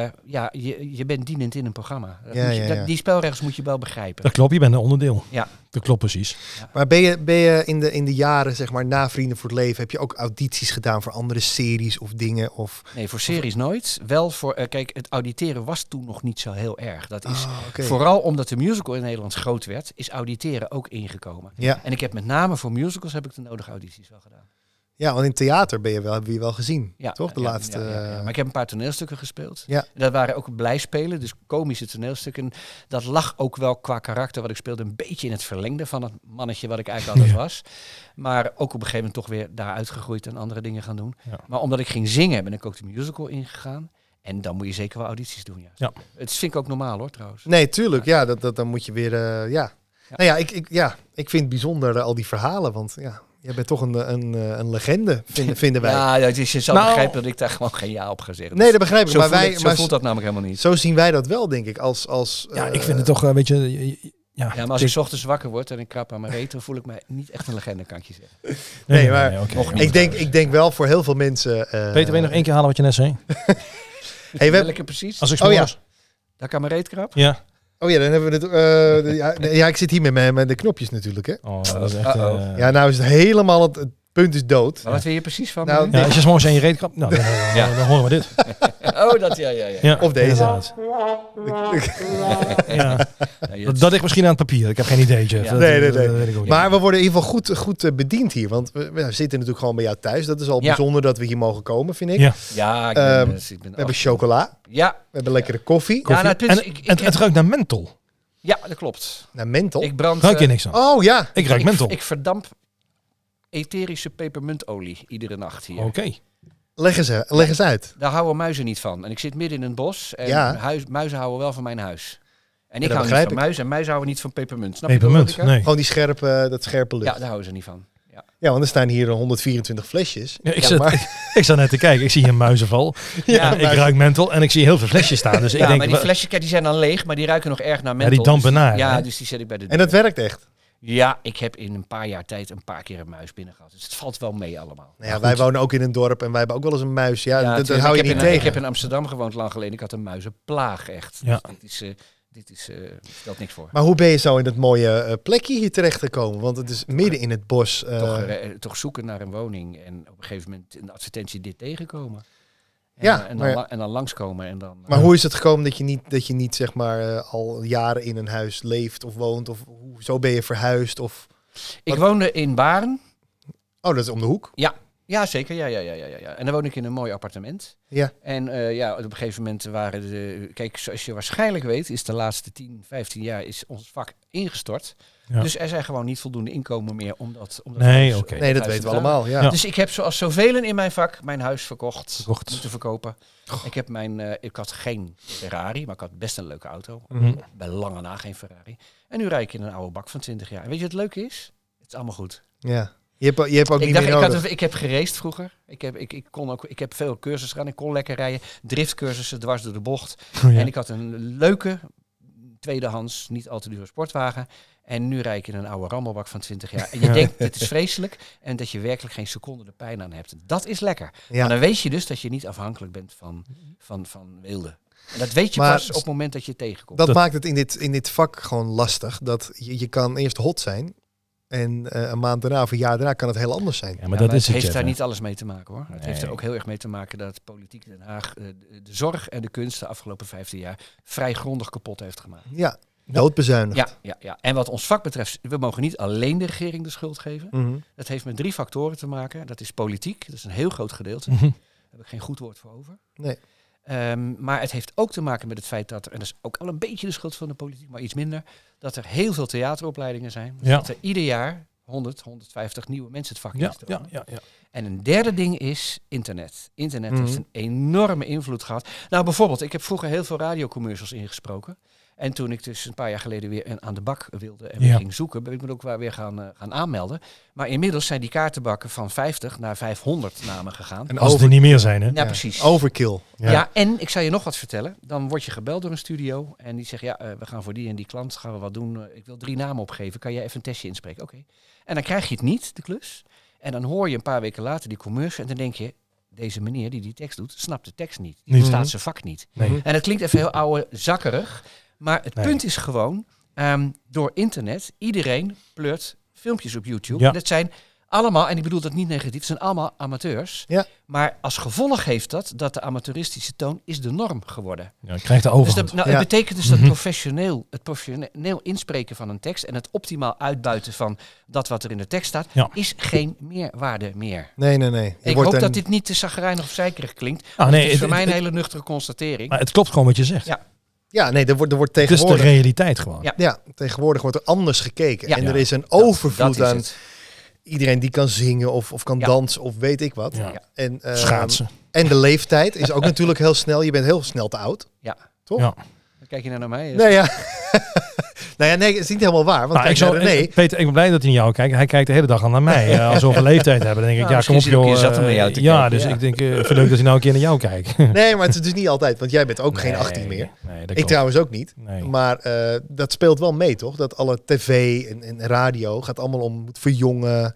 D: eh, ja, je, je bent dienend in een programma. Dat
A: Ja,
D: moet je-
A: ja,
D: dat-
A: ja.
D: die spelregels moet je wel begrijpen. <laughs>
C: Dat klopt, je bent een onderdeel.
D: Ja.
C: Dat klopt precies.
A: Maar ben je, ben je in, de, in de jaren, zeg maar, na Vrienden voor het Leven, heb je ook audities gedaan voor andere series of dingen? Of...
D: Nee, voor series nooit. Wel voor, eh, kijk, het auditeren was toen nog niet zo heel erg. Dat is,
A: Ah, oké.
D: vooral omdat de musical in Nederland groot werd, is auditeren ook ingekomen.
A: Ja.
D: En ik heb met name voor musicals heb ik de nodige audities wel gedaan.
A: ja, want in theater ben je wel, hebben we je wel gezien.
D: Ja,
A: toch? De
D: ja,
A: laatste.
D: ja, ja, ja.
A: eh,
D: Maar ik heb een paar toneelstukken gespeeld.
A: Ja.
D: En Dat waren ook blijspelen, dus komische toneelstukken. Dat lag ook wel qua karakter wat ik speelde een beetje in het verlengde van het mannetje wat ik eigenlijk altijd
C: Ja.
D: was. Maar ook op een gegeven moment toch weer daaruit gegroeid en andere dingen gaan doen.
C: Ja.
D: Maar omdat ik ging zingen ben ik ook de musical ingegaan. En dan moet je zeker wel audities doen, ja.
C: Ja.
D: Het vind ik ook normaal hoor, trouwens.
A: Nee, tuurlijk. Ja, dat, dat, dan moet je weer. eh, ja.
D: Ja.
A: Nou ja, ik, ik, ja, ik vind het bijzonder eh, al die verhalen. Want ja, jij bent toch een, eh, een, eh, een legende, vinden, vinden wij.
D: <laughs> Ja, dat is, je zal
C: Nou.
D: begrijpen dat ik daar gewoon geen ja op ga zeggen. Dus
A: Nee, dat begrijp ik.
D: zo,
A: Maar,
D: voel
A: wij,
D: ik- zo
A: maar
D: voelt dat namelijk helemaal niet.
A: zo zien wij dat wel, denk ik. Als, als,
C: Ja,
A: eh,
C: ik vind het toch een beetje... Ja,
D: Ja, maar als ik 's ochtends wakker word en ik krap aan mijn reet, dan voel ik mij niet echt een legende, kan ik je zeggen.
A: Nee, maar
C: oké.
D: nog niet.
A: Ik denk, ik denk wel voor heel veel mensen. eh,
C: Peter, wil je nog één keer halen wat je net zei?
A: Hey, we hebben-
D: Welke precies?
C: Als ik
A: Oh ja.
C: s'morgens-
D: Daar kan mijn reet krap?
C: Ja.
A: Oh ja, dan hebben we het. eh, <laughs> de- ja, nee, ja, ik zit hier met, mijn, met de knopjes natuurlijk. Hè.
C: Oh, dat is echt...
D: Uh-oh.
C: eh,
A: Ja, nou is het helemaal. Het, het punt is dood.
D: Maar wat wil je precies van
A: Nou,
D: me?
C: Ja, als je s'morgens aan je reet krapt, nou, dan, dan, dan-
D: <laughs> Ja.
C: dan horen we dit.
D: <laughs> Oh, dat, ja, ja, ja.
C: Ja,
A: Of deze.
C: inderdaad.
D: <laughs>
C: Ja.
D: Ja, Nou, je-
C: Dat, dat ligt misschien aan het papier. Ik heb geen idee, Jeff.
D: Ja.
C: Dat-
A: Nee, nee,
C: dat-
A: nee.
C: dat weet ik ook niet.
A: Maar we worden in ieder geval goed, goed eh, bediend hier. Want we, we zitten natuurlijk gewoon bij jou thuis. Dat is al
D: Ja.
A: bijzonder dat we hier mogen komen, vind ik.
C: Ja.
D: ja, ik ben,
A: Ehm,
D: dus ik ben
A: We hebben
D: af-
A: chocola.
D: Ja,
A: We hebben lekkere koffie.
D: ja, nou, het punt is,
C: en,
D: ik, ik
C: en-
D: heb-
C: het ruikt naar menthol.
D: ja, dat klopt.
A: Nou, menthol.
D: Ik brand...
C: Ruik je
D: eh,
C: niks aan?
A: Oh ja.
C: ik ruik
D: ik-
C: menthol.
D: Ik verdamp etherische pepermuntolie iedere nacht hier.
C: Oké.
A: Leg eens, eh, leg eens uit.
D: Daar houden muizen niet van. En ik zit midden in een bos en
A: Ja.
D: huis- muizen houden wel van mijn huis. En
A: Ja, dat
D: ik hou niet
A: begrijp
D: van
A: ik.
D: muizen en muizen houden niet van pepermunt. Snap je de
C: Pepermunt,
D: logica?
C: nee.
A: Gewoon die scherpe, eh, dat scherpe lucht.
D: Ja, daar
A: Ja,
D: houden ze niet van. Ja.
A: want er staan hier 124 flesjes.
C: Ja, ik,
A: Ja,
C: zat,
A: maar- <laughs>
C: <laughs> ik zat net te kijken. Ik zie hier een muizenval.
D: <laughs> Ja,
C: ik ruik menthol en ik zie heel veel flesjes staan. Dus ik
D: Ja,
C: denk,
D: maar die
C: wa-
D: flesjes kijk, die zijn dan leeg, maar die ruiken nog erg naar
C: ja,
D: menthol.
C: die dampen
D: Dus-
C: naar.
D: Ja,
C: hè?
D: dus die zet ik bij de
A: En
D: deur.
A: dat werkt echt.
D: Ja, ik heb in een paar jaar tijd een paar keer een muis binnen gehad. Dus het valt wel mee allemaal.
A: Nou ja, wij wonen ook in een dorp en wij hebben ook wel eens een muis. Ja, dat, dat
D: tuurlijk.
A: hou je
D: ik heb
A: niet
D: in,
A: tegen.
D: Ik heb in Amsterdam gewoond lang geleden. Ik had een muizenplaag echt.
C: Ja.
D: Dus dit is, eh, dit is, eh, stelt niks voor.
A: Maar hoe ben je zo in dat mooie eh, plekje hier terecht gekomen? Want het is midden in het bos. eh,
D: toch, eh, toch zoeken naar een woning en op een gegeven moment in de advertentie dit tegenkomen. En,
A: Ja,
D: eh, en, dan,
A: maar-
D: la- en dan langskomen en dan... eh,
A: maar hoe is het gekomen dat je niet, dat je niet zeg maar, eh, al jaren in een huis leeft of woont? Of hoe- zo ben je verhuisd? Of...
D: ik woonde in Baren.
A: Oh, dat is om de hoek.
D: Ja, zeker. Ja, ja, ja, ja, ja, ja. En dan woonde ik in een mooi appartement.
A: Ja.
D: En eh, ja, op een gegeven moment waren de... Kijk, zoals je waarschijnlijk weet, is de laatste 10, 15 jaar is ons vak ingestort.
C: Ja.
D: Dus er zijn gewoon niet voldoende inkomen meer om dat... Om dat
C: Nee,
D: huis-
C: oké.
D: om
A: Nee, dat
D: huis te
A: weten we
D: betalen.
A: allemaal. Ja.
C: Ja.
D: Dus ik heb zoals zoveel in mijn vak mijn huis verkocht,
C: Verkocht.
D: moeten verkopen. Ik, heb mijn, eh, ik had geen Ferrari, maar ik had best een leuke auto.
C: Mhm.
D: Bij lange na geen Ferrari. En nu rijd ik in een oude bak van 20 jaar. En weet je wat leuk is? Het is allemaal goed.
A: Ja. Je, hebt, je hebt ook
D: Ik,
A: niet
D: dacht, ik,
A: meer
D: had,
A: nodig.
D: een- ik heb gereest vroeger. Ik heb, ik, ik, kon ook, ik heb veel cursussen gedaan. Ik kon lekker rijden. Driftcursussen dwars door de bocht.
C: Ja.
D: En ik had een leuke tweedehands, niet al te dure sportwagen. En nu rij ik in een oude rammelbak van 20 jaar. En je
C: Ja.
D: denkt, dit is vreselijk. En dat je werkelijk geen seconde de pijn aan hebt. Dat is lekker.
A: Ja.
D: Maar dan weet je dus dat je niet afhankelijk bent van, van, van wilde. En dat weet je
A: Maar-
D: pas op het moment dat je het tegenkomt.
A: Dat,
C: Dat-
A: maakt het in dit, in dit vak gewoon lastig. Dat je, je kan eerst hot zijn. En eh, een maand daarna of een jaar daarna kan het heel anders zijn.
C: Ja, maar
D: Ja,
C: dat
D: maar
C: is
D: het
C: het.
D: heeft
C: Jeff,
D: daar
C: hè.
D: niet alles mee te maken hoor. Het heeft er
C: Nee.
D: ook heel erg mee te maken dat politiek Den Haag eh, de, de zorg en de kunst de afgelopen 15 jaar vrij grondig kapot heeft gemaakt.
A: Ja, doodbezuinigd.
D: Ja, ja, ja. En wat ons vak betreft, we mogen niet alleen de regering de schuld geven.
A: Mhm.
D: Dat heeft met drie factoren te maken. Dat is politiek, dat is een heel groot gedeelte.
C: Mhm.
D: Daar heb ik geen goed woord voor over.
A: Nee.
D: Ehm, maar het heeft ook te maken met het feit dat, er- en dat is ook al een beetje de schuld van de politiek, maar iets minder, dat er heel veel theateropleidingen zijn. Dus
C: Ja.
D: Dat er ieder jaar 100, 150 nieuwe mensen het vak in
C: Ja,
D: stromen.
C: ja, ja, ja.
D: En een derde ding is internet. Internet
A: Mhm.
D: heeft een enorme invloed gehad. Nou, bijvoorbeeld, ik heb vroeger heel veel radiocommercials ingesproken. En toen ik dus een paar jaar geleden weer een- aan de bak wilde en weer
C: Ja.
D: ging zoeken, ben ik me ook wel weer gaan, eh, gaan aanmelden. Maar inmiddels zijn die kaartenbakken van 50 naar 500 namen gegaan.
A: En
C: Als er niet meer zijn, hè?
D: ja, precies.
A: Overkill.
D: Ja. en ik zou je nog wat vertellen. Dan word je gebeld door een studio en die zegt, ja, eh, we gaan voor die en die klant, gaan we wat doen. Eh, ik wil drie namen opgeven, kan jij even een testje inspreken? Oké. En dan krijg je het niet, de klus. En dan hoor je een paar weken later die commercial en dan denk je, deze meneer die die tekst doet, snapt de tekst niet. Die
C: Niet.
D: staat zijn vak niet.
C: Nee.
D: En dat klinkt even heel oude zakkerig, maar het
C: Nee.
D: punt is gewoon, ehm, door internet, iedereen pleurt filmpjes op YouTube.
C: Ja.
D: En dat zijn allemaal, en ik bedoel dat niet negatief, het zijn allemaal amateurs.
A: Ja.
D: Maar als gevolg heeft dat dat de amateuristische toon is de norm geworden.
C: Ja, ik krijg de
D: Dus
C: overhand.
D: dat, nou, het
A: Ja.
D: betekent dus dat
C: Mhm.
D: professioneel, het professioneel inspreken van een tekst en het optimaal uitbuiten van dat wat er in de tekst staat,
C: Ja.
D: is geen meerwaarde meer.
A: Nee, nee, nee. Je
D: ik
A: wordt
D: hoop
A: een-
D: dat dit niet te zagrijnig of zeikerig klinkt.
C: Ah,
D: Nee,
C: nee,
D: het is
C: het-
D: voor mij een
C: het-
D: hele nuchtere constatering.
C: maar het klopt gewoon wat je zegt.
D: Ja.
A: Ja, nee, er wordt, er wordt
C: Het is Dus de
A: tegenwoordig...
C: realiteit gewoon.
D: Ja.
A: Ja, tegenwoordig wordt er anders gekeken.
D: Ja.
A: En er
C: Ja.
A: is een
D: Dat-
A: overvloed
D: dat is
A: aan
D: het.
A: iedereen die kan zingen of, of kan
D: Ja.
A: dansen of weet ik wat.
C: Ja.
D: Ja.
A: En, ehm,
C: Schaatsen.
A: en de leeftijd is ook <laughs> natuurlijk heel snel. Je bent heel snel te oud.
D: Ja.
A: Toch?
C: Ja.
D: Dan Kijk je nou naar mij?
A: Nou ja. <laughs> nou ja, nee, het is niet helemaal waar. Want
C: Nou,
A: kijk
C: ik zou,
A: naar René.
C: ik- <laughs> Peter, ik ben blij dat hij naar jou kijkt. Hij kijkt de hele dag al naar mij. Eh, als we een leeftijd hebben, dan denk ik,
D: Nou,
C: ja, kom op
D: misschien
C: joh.
D: is hij ook een keer zat om
C: eh,
D: naar jou te
C: ja,
D: kijken,
C: dus
D: ja.
C: ik denk, eh, vind leuk dat hij nou een keer naar jou kijkt.
A: Nee, maar het is dus niet altijd. Want jij bent ook geen
C: Nee,
A: 18 meer.
C: Nee, dat
A: Ik
C: klopt.
A: trouwens ook niet.
C: Nee.
A: Maar eh, dat speelt wel mee, toch? Dat alle tv en, en radio gaat allemaal om het verjongen.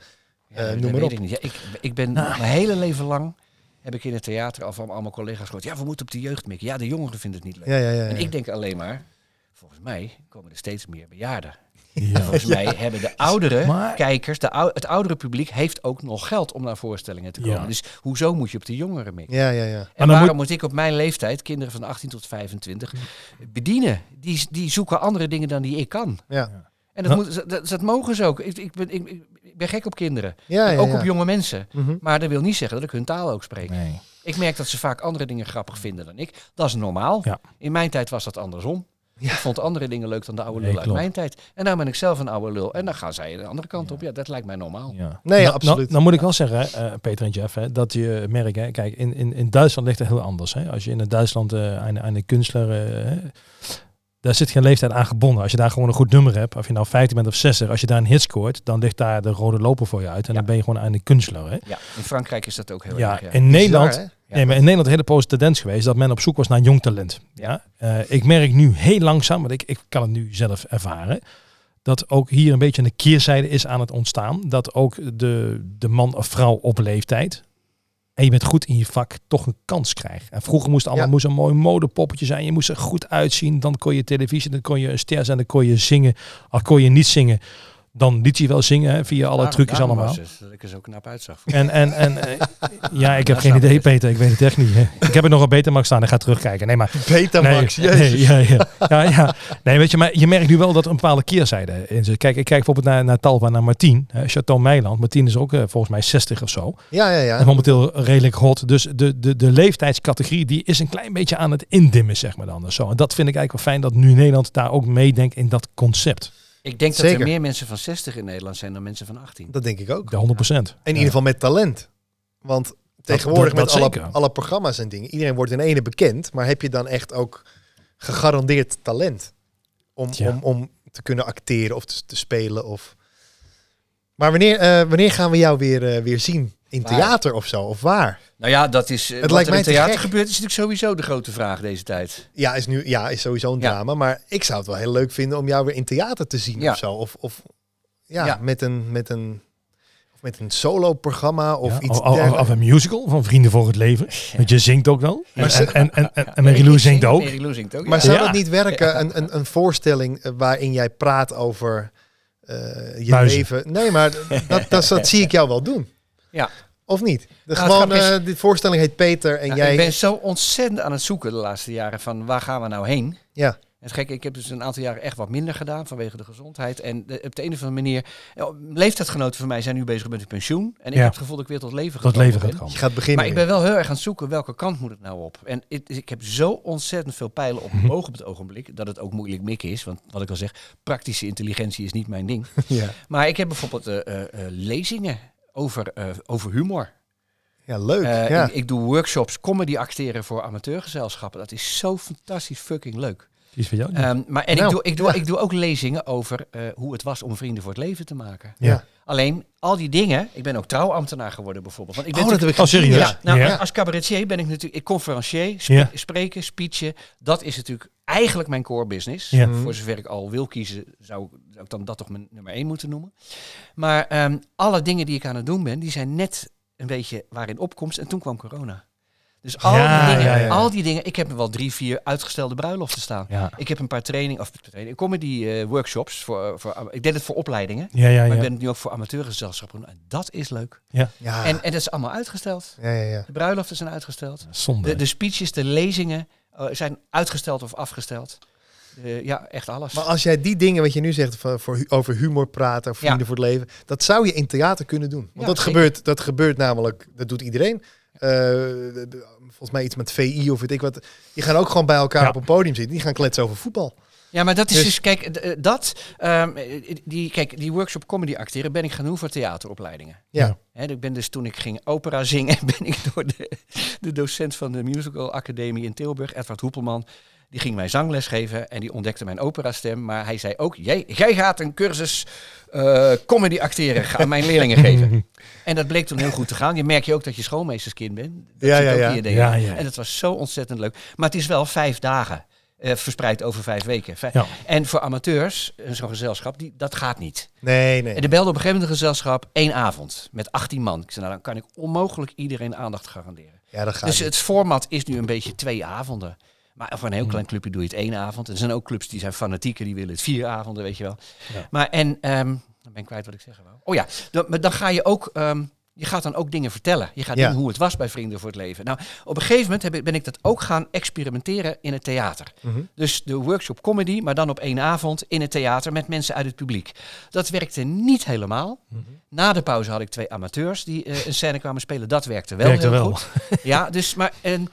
A: Eh,
D: dat
A: noem maar
D: weet
A: op. Ah.
D: Ik, niet. Ja, ik, ik ben mijn hele leven lang heb ik in het theater al van allemaal collega's gehoord. Ja, we moeten op de jeugd mikken. Ja, de jongeren vinden het niet leuk.
A: Ja, ja, ja.
D: En
A: ja.
D: ik denk alleen maar, volgens mij komen er steeds meer bejaarden.
C: Ja.
D: <laughs> Volgens mij hebben de oudere
C: Maar-
D: kijkers, de ou- het oudere publiek heeft ook nog geld om naar voorstellingen te komen.
C: Ja.
D: Dus hoezo moet je op de jongeren mikken?
A: ja, ja, ja.
D: En
C: dan
D: waarom moet... ik op mijn leeftijd kinderen van 18 tot 25 bedienen? Die, die zoeken andere dingen dan die ik kan.
A: Ja.
D: En dat,
C: Nou-
D: moet, dat, dat mogen ze ook. Ik, ik, ben, ik, ik ben gek op kinderen.
A: ja, ja,
D: ook
A: ja.
D: op jonge mensen.
A: Mhm.
D: Maar dat wil niet zeggen dat ik hun taal ook spreek.
C: Nee.
D: Ik merk dat ze vaak andere dingen grappig vinden dan ik. Dat is normaal.
C: Ja.
D: In mijn tijd was dat andersom.
A: Ja.
D: Ik vond andere dingen leuk dan de oude
C: Nee,
D: lul uit
C: klopt.
D: mijn tijd. En nou ben ik zelf een oude lul. En dan gaan zij de andere kant op. Ja, dat lijkt mij normaal.
C: Ja.
A: Nee, ja,
C: Nou,
A: absoluut.
C: Nou, nou moet ik wel zeggen, eh, Peter en Jeff, hè, dat je merkt, hè, kijk, in, in, in Duitsland ligt het heel anders. Hè. Als je in het Duitsland eh, aan, aan de kunstler, eh, hè, daar zit geen leeftijd aan gebonden. Als je daar gewoon een goed nummer hebt, of je nou 15 bent of 60, als je daar een hit scoort, dan ligt daar de rode loper voor je uit. En
D: Ja.
C: dan ben je gewoon aan de kunstler. Hè.
D: Ja, in Frankrijk is dat ook heel
C: Ja,
D: erg. ja.
C: in Nederland,
A: Bizar, hè?
D: Ja.
C: nee, maar in Nederland een hele positieve tendens geweest dat men op zoek was naar jong talent. Ja. Eh, ik merk nu heel langzaam, want ik, ik kan het nu zelf ervaren, dat ook hier een beetje een keerzijde is aan het ontstaan. Dat ook de, de man of vrouw op leeftijd, en je bent goed in je vak, toch een kans krijgt. En vroeger moest allemaal
A: Ja.
C: moest een mooi modepoppetje zijn, je moest er goed uitzien, dan kon je televisie, dan kon je een ster zijn, dan kon je zingen. Al kon je niet zingen, dan liet je wel zingen hè, via alle
D: Daarom-
C: trucjes
D: daarom
C: allemaal.
D: was het, dat ik er zo knap uitzag.
C: En, en, en eh, ja, ik heb
D: Dat
C: geen
D: snap
C: idee,
D: ik.
C: Peter. Ik weet het echt niet. Hè. Ik heb er nog een Betamax staan. Ik ga terugkijken. Nee, maar.
A: Betamax,
C: <laughs> nee,
A: jezus.
C: nee, ja, ja, ja, ja. Nee, weet je, maar je merkt nu wel dat er een bepaalde keerzijde in zit. Kijk, ik kijk bijvoorbeeld naar, naar Talpa, naar Martien. Hè, Chateau Meiland. Martien is ook eh, volgens mij 60 of zo.
A: Ja, ja, ja.
C: En momenteel redelijk hot. Dus de, de, de leeftijdscategorie die is een klein beetje aan het indimmen, zeg maar dan. Zo. En dat vind ik eigenlijk wel fijn dat nu Nederland daar ook meedenkt in dat concept.
D: Ik denk dat
A: Zeker.
D: er meer mensen van 60 in Nederland zijn dan mensen van 18.
A: Dat denk ik ook.
C: De 100 procent.
A: In ieder geval met talent. Want tegenwoordig
C: dat- dat
A: met alle,
C: zeker.
A: alle programma's en dingen, iedereen wordt in ene bekend, maar heb je dan echt ook gegarandeerd talent om,
C: Tja.
A: om, om te kunnen acteren of te, te spelen? Of... Maar wanneer, eh, wanneer gaan we jou weer, eh, weer zien In
D: Waar?
A: theater of zo, of waar?
D: Nou ja, dat is. eh,
A: Het
D: wat
A: lijkt
D: er in
A: mij te
D: theater
A: gek.
D: gebeurt, is natuurlijk sowieso de grote vraag deze tijd.
A: Ja, is, nu, ja, is sowieso een
D: Ja.
A: drama. Maar ik zou het wel heel leuk vinden om jou weer in theater te zien
D: Ja.
A: of zo. Of, of ja,
D: Ja.
A: met een, met een, of met een solo-programma of
C: Ja, oh,
A: iets
C: of, of,
A: dergelijks.
C: of een musical van Vrienden voor het Leven. Want je zingt ook wel. En, en, en, en, en, en Mary Lou zingt ook.
D: Mary Lou zingt ook.
A: Maar
D: ja.
A: zou
C: Ja.
A: dat niet werken, een, een, een voorstelling eh, waarin jij praat over eh, je
C: Muizen.
A: leven? Nee, maar dat, dat, dat, zie ik jou wel doen.
D: Ja.
A: Of niet? De,
D: Nou, het
A: gewoon,
D: grappige is-
A: eh, die voorstelling heet Peter en
D: Ja,
A: jij...
D: Ik ben zo ontzettend aan het zoeken de laatste jaren van waar gaan we nou heen.
A: Ja.
D: Het gekke, ik heb dus een aantal jaren echt wat minder gedaan vanwege de gezondheid. En de- op de een of andere manier, ja, leeftijdgenoten van mij zijn nu bezig met hun pensioen. En ik
C: Ja.
D: heb het gevoel dat ik weer tot
C: Dat
D: leven gekomen
C: leven gaat
D: ben.
C: komen.
A: Je gaat beginnen.
D: Maar ik ben wel heel erg aan het zoeken welke kant moet het nou op. En het is- ik heb zo ontzettend veel pijlen
A: <laughs>
D: op mijn ogen op het ogenblik dat het ook moeilijk mikken is. Want wat ik al zeg, praktische intelligentie is niet mijn ding.
A: <laughs> Ja.
D: Maar ik heb bijvoorbeeld eh, eh, eh, lezingen over, eh, over humor.
A: ja, leuk.
D: Eh,
A: ja.
D: ik, ik doe workshops comedy acteren voor amateurgezelschappen. Dat is zo fantastisch fucking leuk.
C: Die is voor jou.
D: Ehm, maar, en
A: Nou,
D: ik, doe, ik, doe,
A: ja.
D: ik doe ook lezingen over eh, hoe het was om vrienden voor het leven te maken.
A: ja.
D: Alleen al die dingen, ik ben ook trouwambtenaar geworden bijvoorbeeld. Want ik ben
A: Oh, dat heb
D: natuurlijk-
A: ik
C: Oh, serieus?
D: ja, nou,
C: Ja.
D: Als cabaretier ben ik natuurlijk ik conferencier, sp-
C: Ja.
D: spreken, speechen. Dat is natuurlijk eigenlijk mijn core business.
C: Ja.
D: Voor zover ik al wil kiezen, zou, ik- zou ik dan dat toch mijn nummer één moeten noemen. Maar ehm, alle dingen die ik aan het doen ben, die zijn net een beetje waarin opkomst. En toen kwam corona. Dus al,
C: Ja,
D: die dingen,
C: ja, ja.
D: al die dingen, ik heb er wel drie, vier uitgestelde bruiloften staan.
C: Ja,
D: Ik heb een paar training, of training, comedy eh, workshops. Voor, voor, ik deed het voor opleidingen,
C: ja, ja.
D: maar ik
C: ja. Ah.
D: ben het nu ook voor amateurgezelschappen. doen. En dat is leuk.
A: Ja.
D: En, en dat is allemaal uitgesteld.
A: ja, ja, ja.
D: De bruiloften zijn uitgesteld. De,
C: Zonde.
D: de speeches, de lezingen eh, zijn uitgesteld of afgesteld. Eh, ja, echt alles.
A: Maar als jij die dingen wat je nu zegt van, voor, hu- over humor praten, over vrienden voor het leven, dat zou je in theater kunnen doen. Want
D: Ja,
A: dat,
D: zeker.
A: gebeurt, dat gebeurt namelijk, dat doet iedereen. Eh, de- de- volgens mij iets met VI of weet ik wat. Die gaan ook gewoon bij elkaar
C: Ja.
A: op een podium zitten. Die gaan kletsen over voetbal.
D: ja, maar dat is
A: dus-
D: dus, kijk, d- eh, dat, ehm, eh, die, kijk, die workshop comedy acteren ben ik gaan doen voor theateropleidingen.
A: Ja.
C: Ja.
D: Hè, ik ben dus toen ik ging opera zingen, <laughs> ben ik door de, de docent van de Musical Academie in Tilburg, Edward Hoepelman, die ging mij zangles geven en die ontdekte mijn operastem. Maar hij zei ook, jij, jij gaat een cursus eh, comedy acteren aan mijn leerlingen geven. En dat bleek toen heel goed te gaan. Je merk je ook dat je schoolmeesterskind bent. Dat
A: Ja,
D: zit
A: ja,
D: ook
A: ja.
D: in je DNA.
C: Ja, ja.
D: En dat was zo ontzettend leuk. Maar het is wel vijf dagen. eh, verspreid over vijf weken. Vij-
C: Ja.
D: En voor amateurs, eh, zo'n gezelschap, die, dat gaat niet.
A: Nee,
D: En
A: nee.
D: er belde op een gegeven moment een gezelschap één avond met 18 man. Ik zei, nou, dan kan ik onmogelijk iedereen aandacht garanderen.
A: Ja, dat gaat
D: dus
A: niet.
D: het format is nu een beetje twee avonden. Maar voor een heel
A: Hmm.
D: klein clubje doe je het één avond. Er zijn ook clubs die zijn fanatieken, die willen het vier avonden, weet je wel.
C: Ja.
D: Maar en, ehm, dan ben ik kwijt wat ik zeggen wou. Oh ja, dan, maar dan ga je ook, ehm, je gaat dan ook dingen vertellen. Je gaat
A: Ja.
D: doen hoe het was bij Vrienden voor het Leven. Nou, op een gegeven moment heb ik, ben ik dat ook gaan experimenteren in het theater.
A: Mhm.
D: Dus de workshop comedy, maar dan op één avond in het theater met mensen uit het publiek. Dat werkte niet helemaal.
C: Mhm.
D: Na de pauze had ik twee amateurs die eh, een scène kwamen spelen. Dat werkte wel
C: Werkte
D: heel
C: wel. <laughs>
D: goed. Ja, dus maar en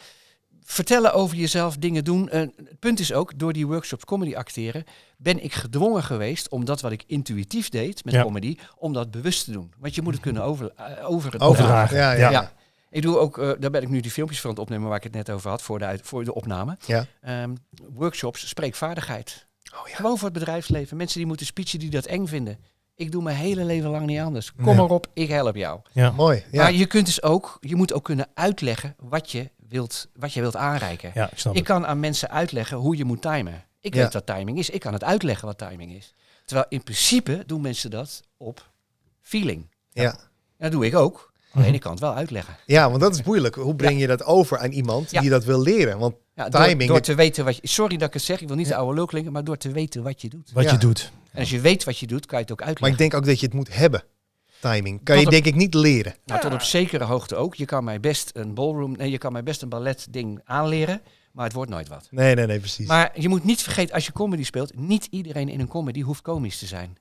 D: vertellen over jezelf, dingen doen. Eh, het punt is ook, door die workshops comedy acteren ben ik gedwongen geweest om dat wat ik intuïtief deed met
C: Ja.
D: comedy, om dat bewust te doen. Want je moet het kunnen over, eh, over
C: Overdragen.
A: Ja, ja.
D: ja. Ik doe ook, eh, daar ben ik nu die filmpjes van aan het opnemen waar ik het net over had voor de, uit- voor de opname.
A: Ja. Oh,
D: Ehm, workshops, spreekvaardigheid. Gewoon voor het bedrijfsleven. Mensen die moeten speechen die dat eng vinden. Ik doe mijn hele leven lang niet anders. Kom
A: Nee.
D: maar op, ik help jou.
C: Ja.
A: Mooi. Ja.
D: Maar je kunt dus ook, je moet ook kunnen uitleggen wat je wilt, wat je wilt aanreiken.
C: ja, ik snap
D: Ik
C: het.
D: kan aan mensen uitleggen hoe je moet timen. Ik
A: Ja.
D: weet wat timing is. Ik kan het uitleggen wat timing is. Terwijl in principe doen mensen dat op feeling.
A: ja. Mhm.
D: Dat doe ik ook. Aan de ene kant wel uitleggen.
A: ja, want dat is moeilijk. Hoe breng je dat over aan iemand
D: Ja.
A: die dat wil leren? Want
D: Ja,
A: Timing.
D: Door, door te weten wat je. Sorry dat ik het zeg, ik wil niet de oude lul klinken, maar door te weten wat je doet.
C: Wat
A: Ja.
C: je doet.
D: En als je weet wat je doet, kan je het ook
A: Maar
D: uitleggen.
A: ik denk ook dat je het moet hebben. Timing. Kan
D: Tot
A: je
D: op-
A: denk ik niet leren.
D: Nou, tot op zekere hoogte ook. Je kan mij best een ballroom, nee, je kan mij best een balletding aanleren, maar het wordt nooit wat.
A: Nee, nee, nee, precies.
D: Maar je moet niet vergeten, als je comedy speelt, niet iedereen in een comedy hoeft komisch te zijn.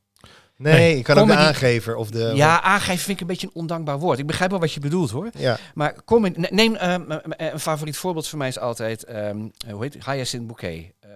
A: nee,
C: Nee.
A: je kan ook de
D: Comedy-
A: aangever of de...
D: Ja, aangeven vind ik een beetje een ondankbaar woord. Ik begrijp wel wat je bedoelt hoor.
A: Ja.
D: Maar comedy, ne- neem ehm, eh, eh, een favoriet voorbeeld van mij is altijd, ehm eh, hoe heet het? Hyacinth Bouquet. Ehm,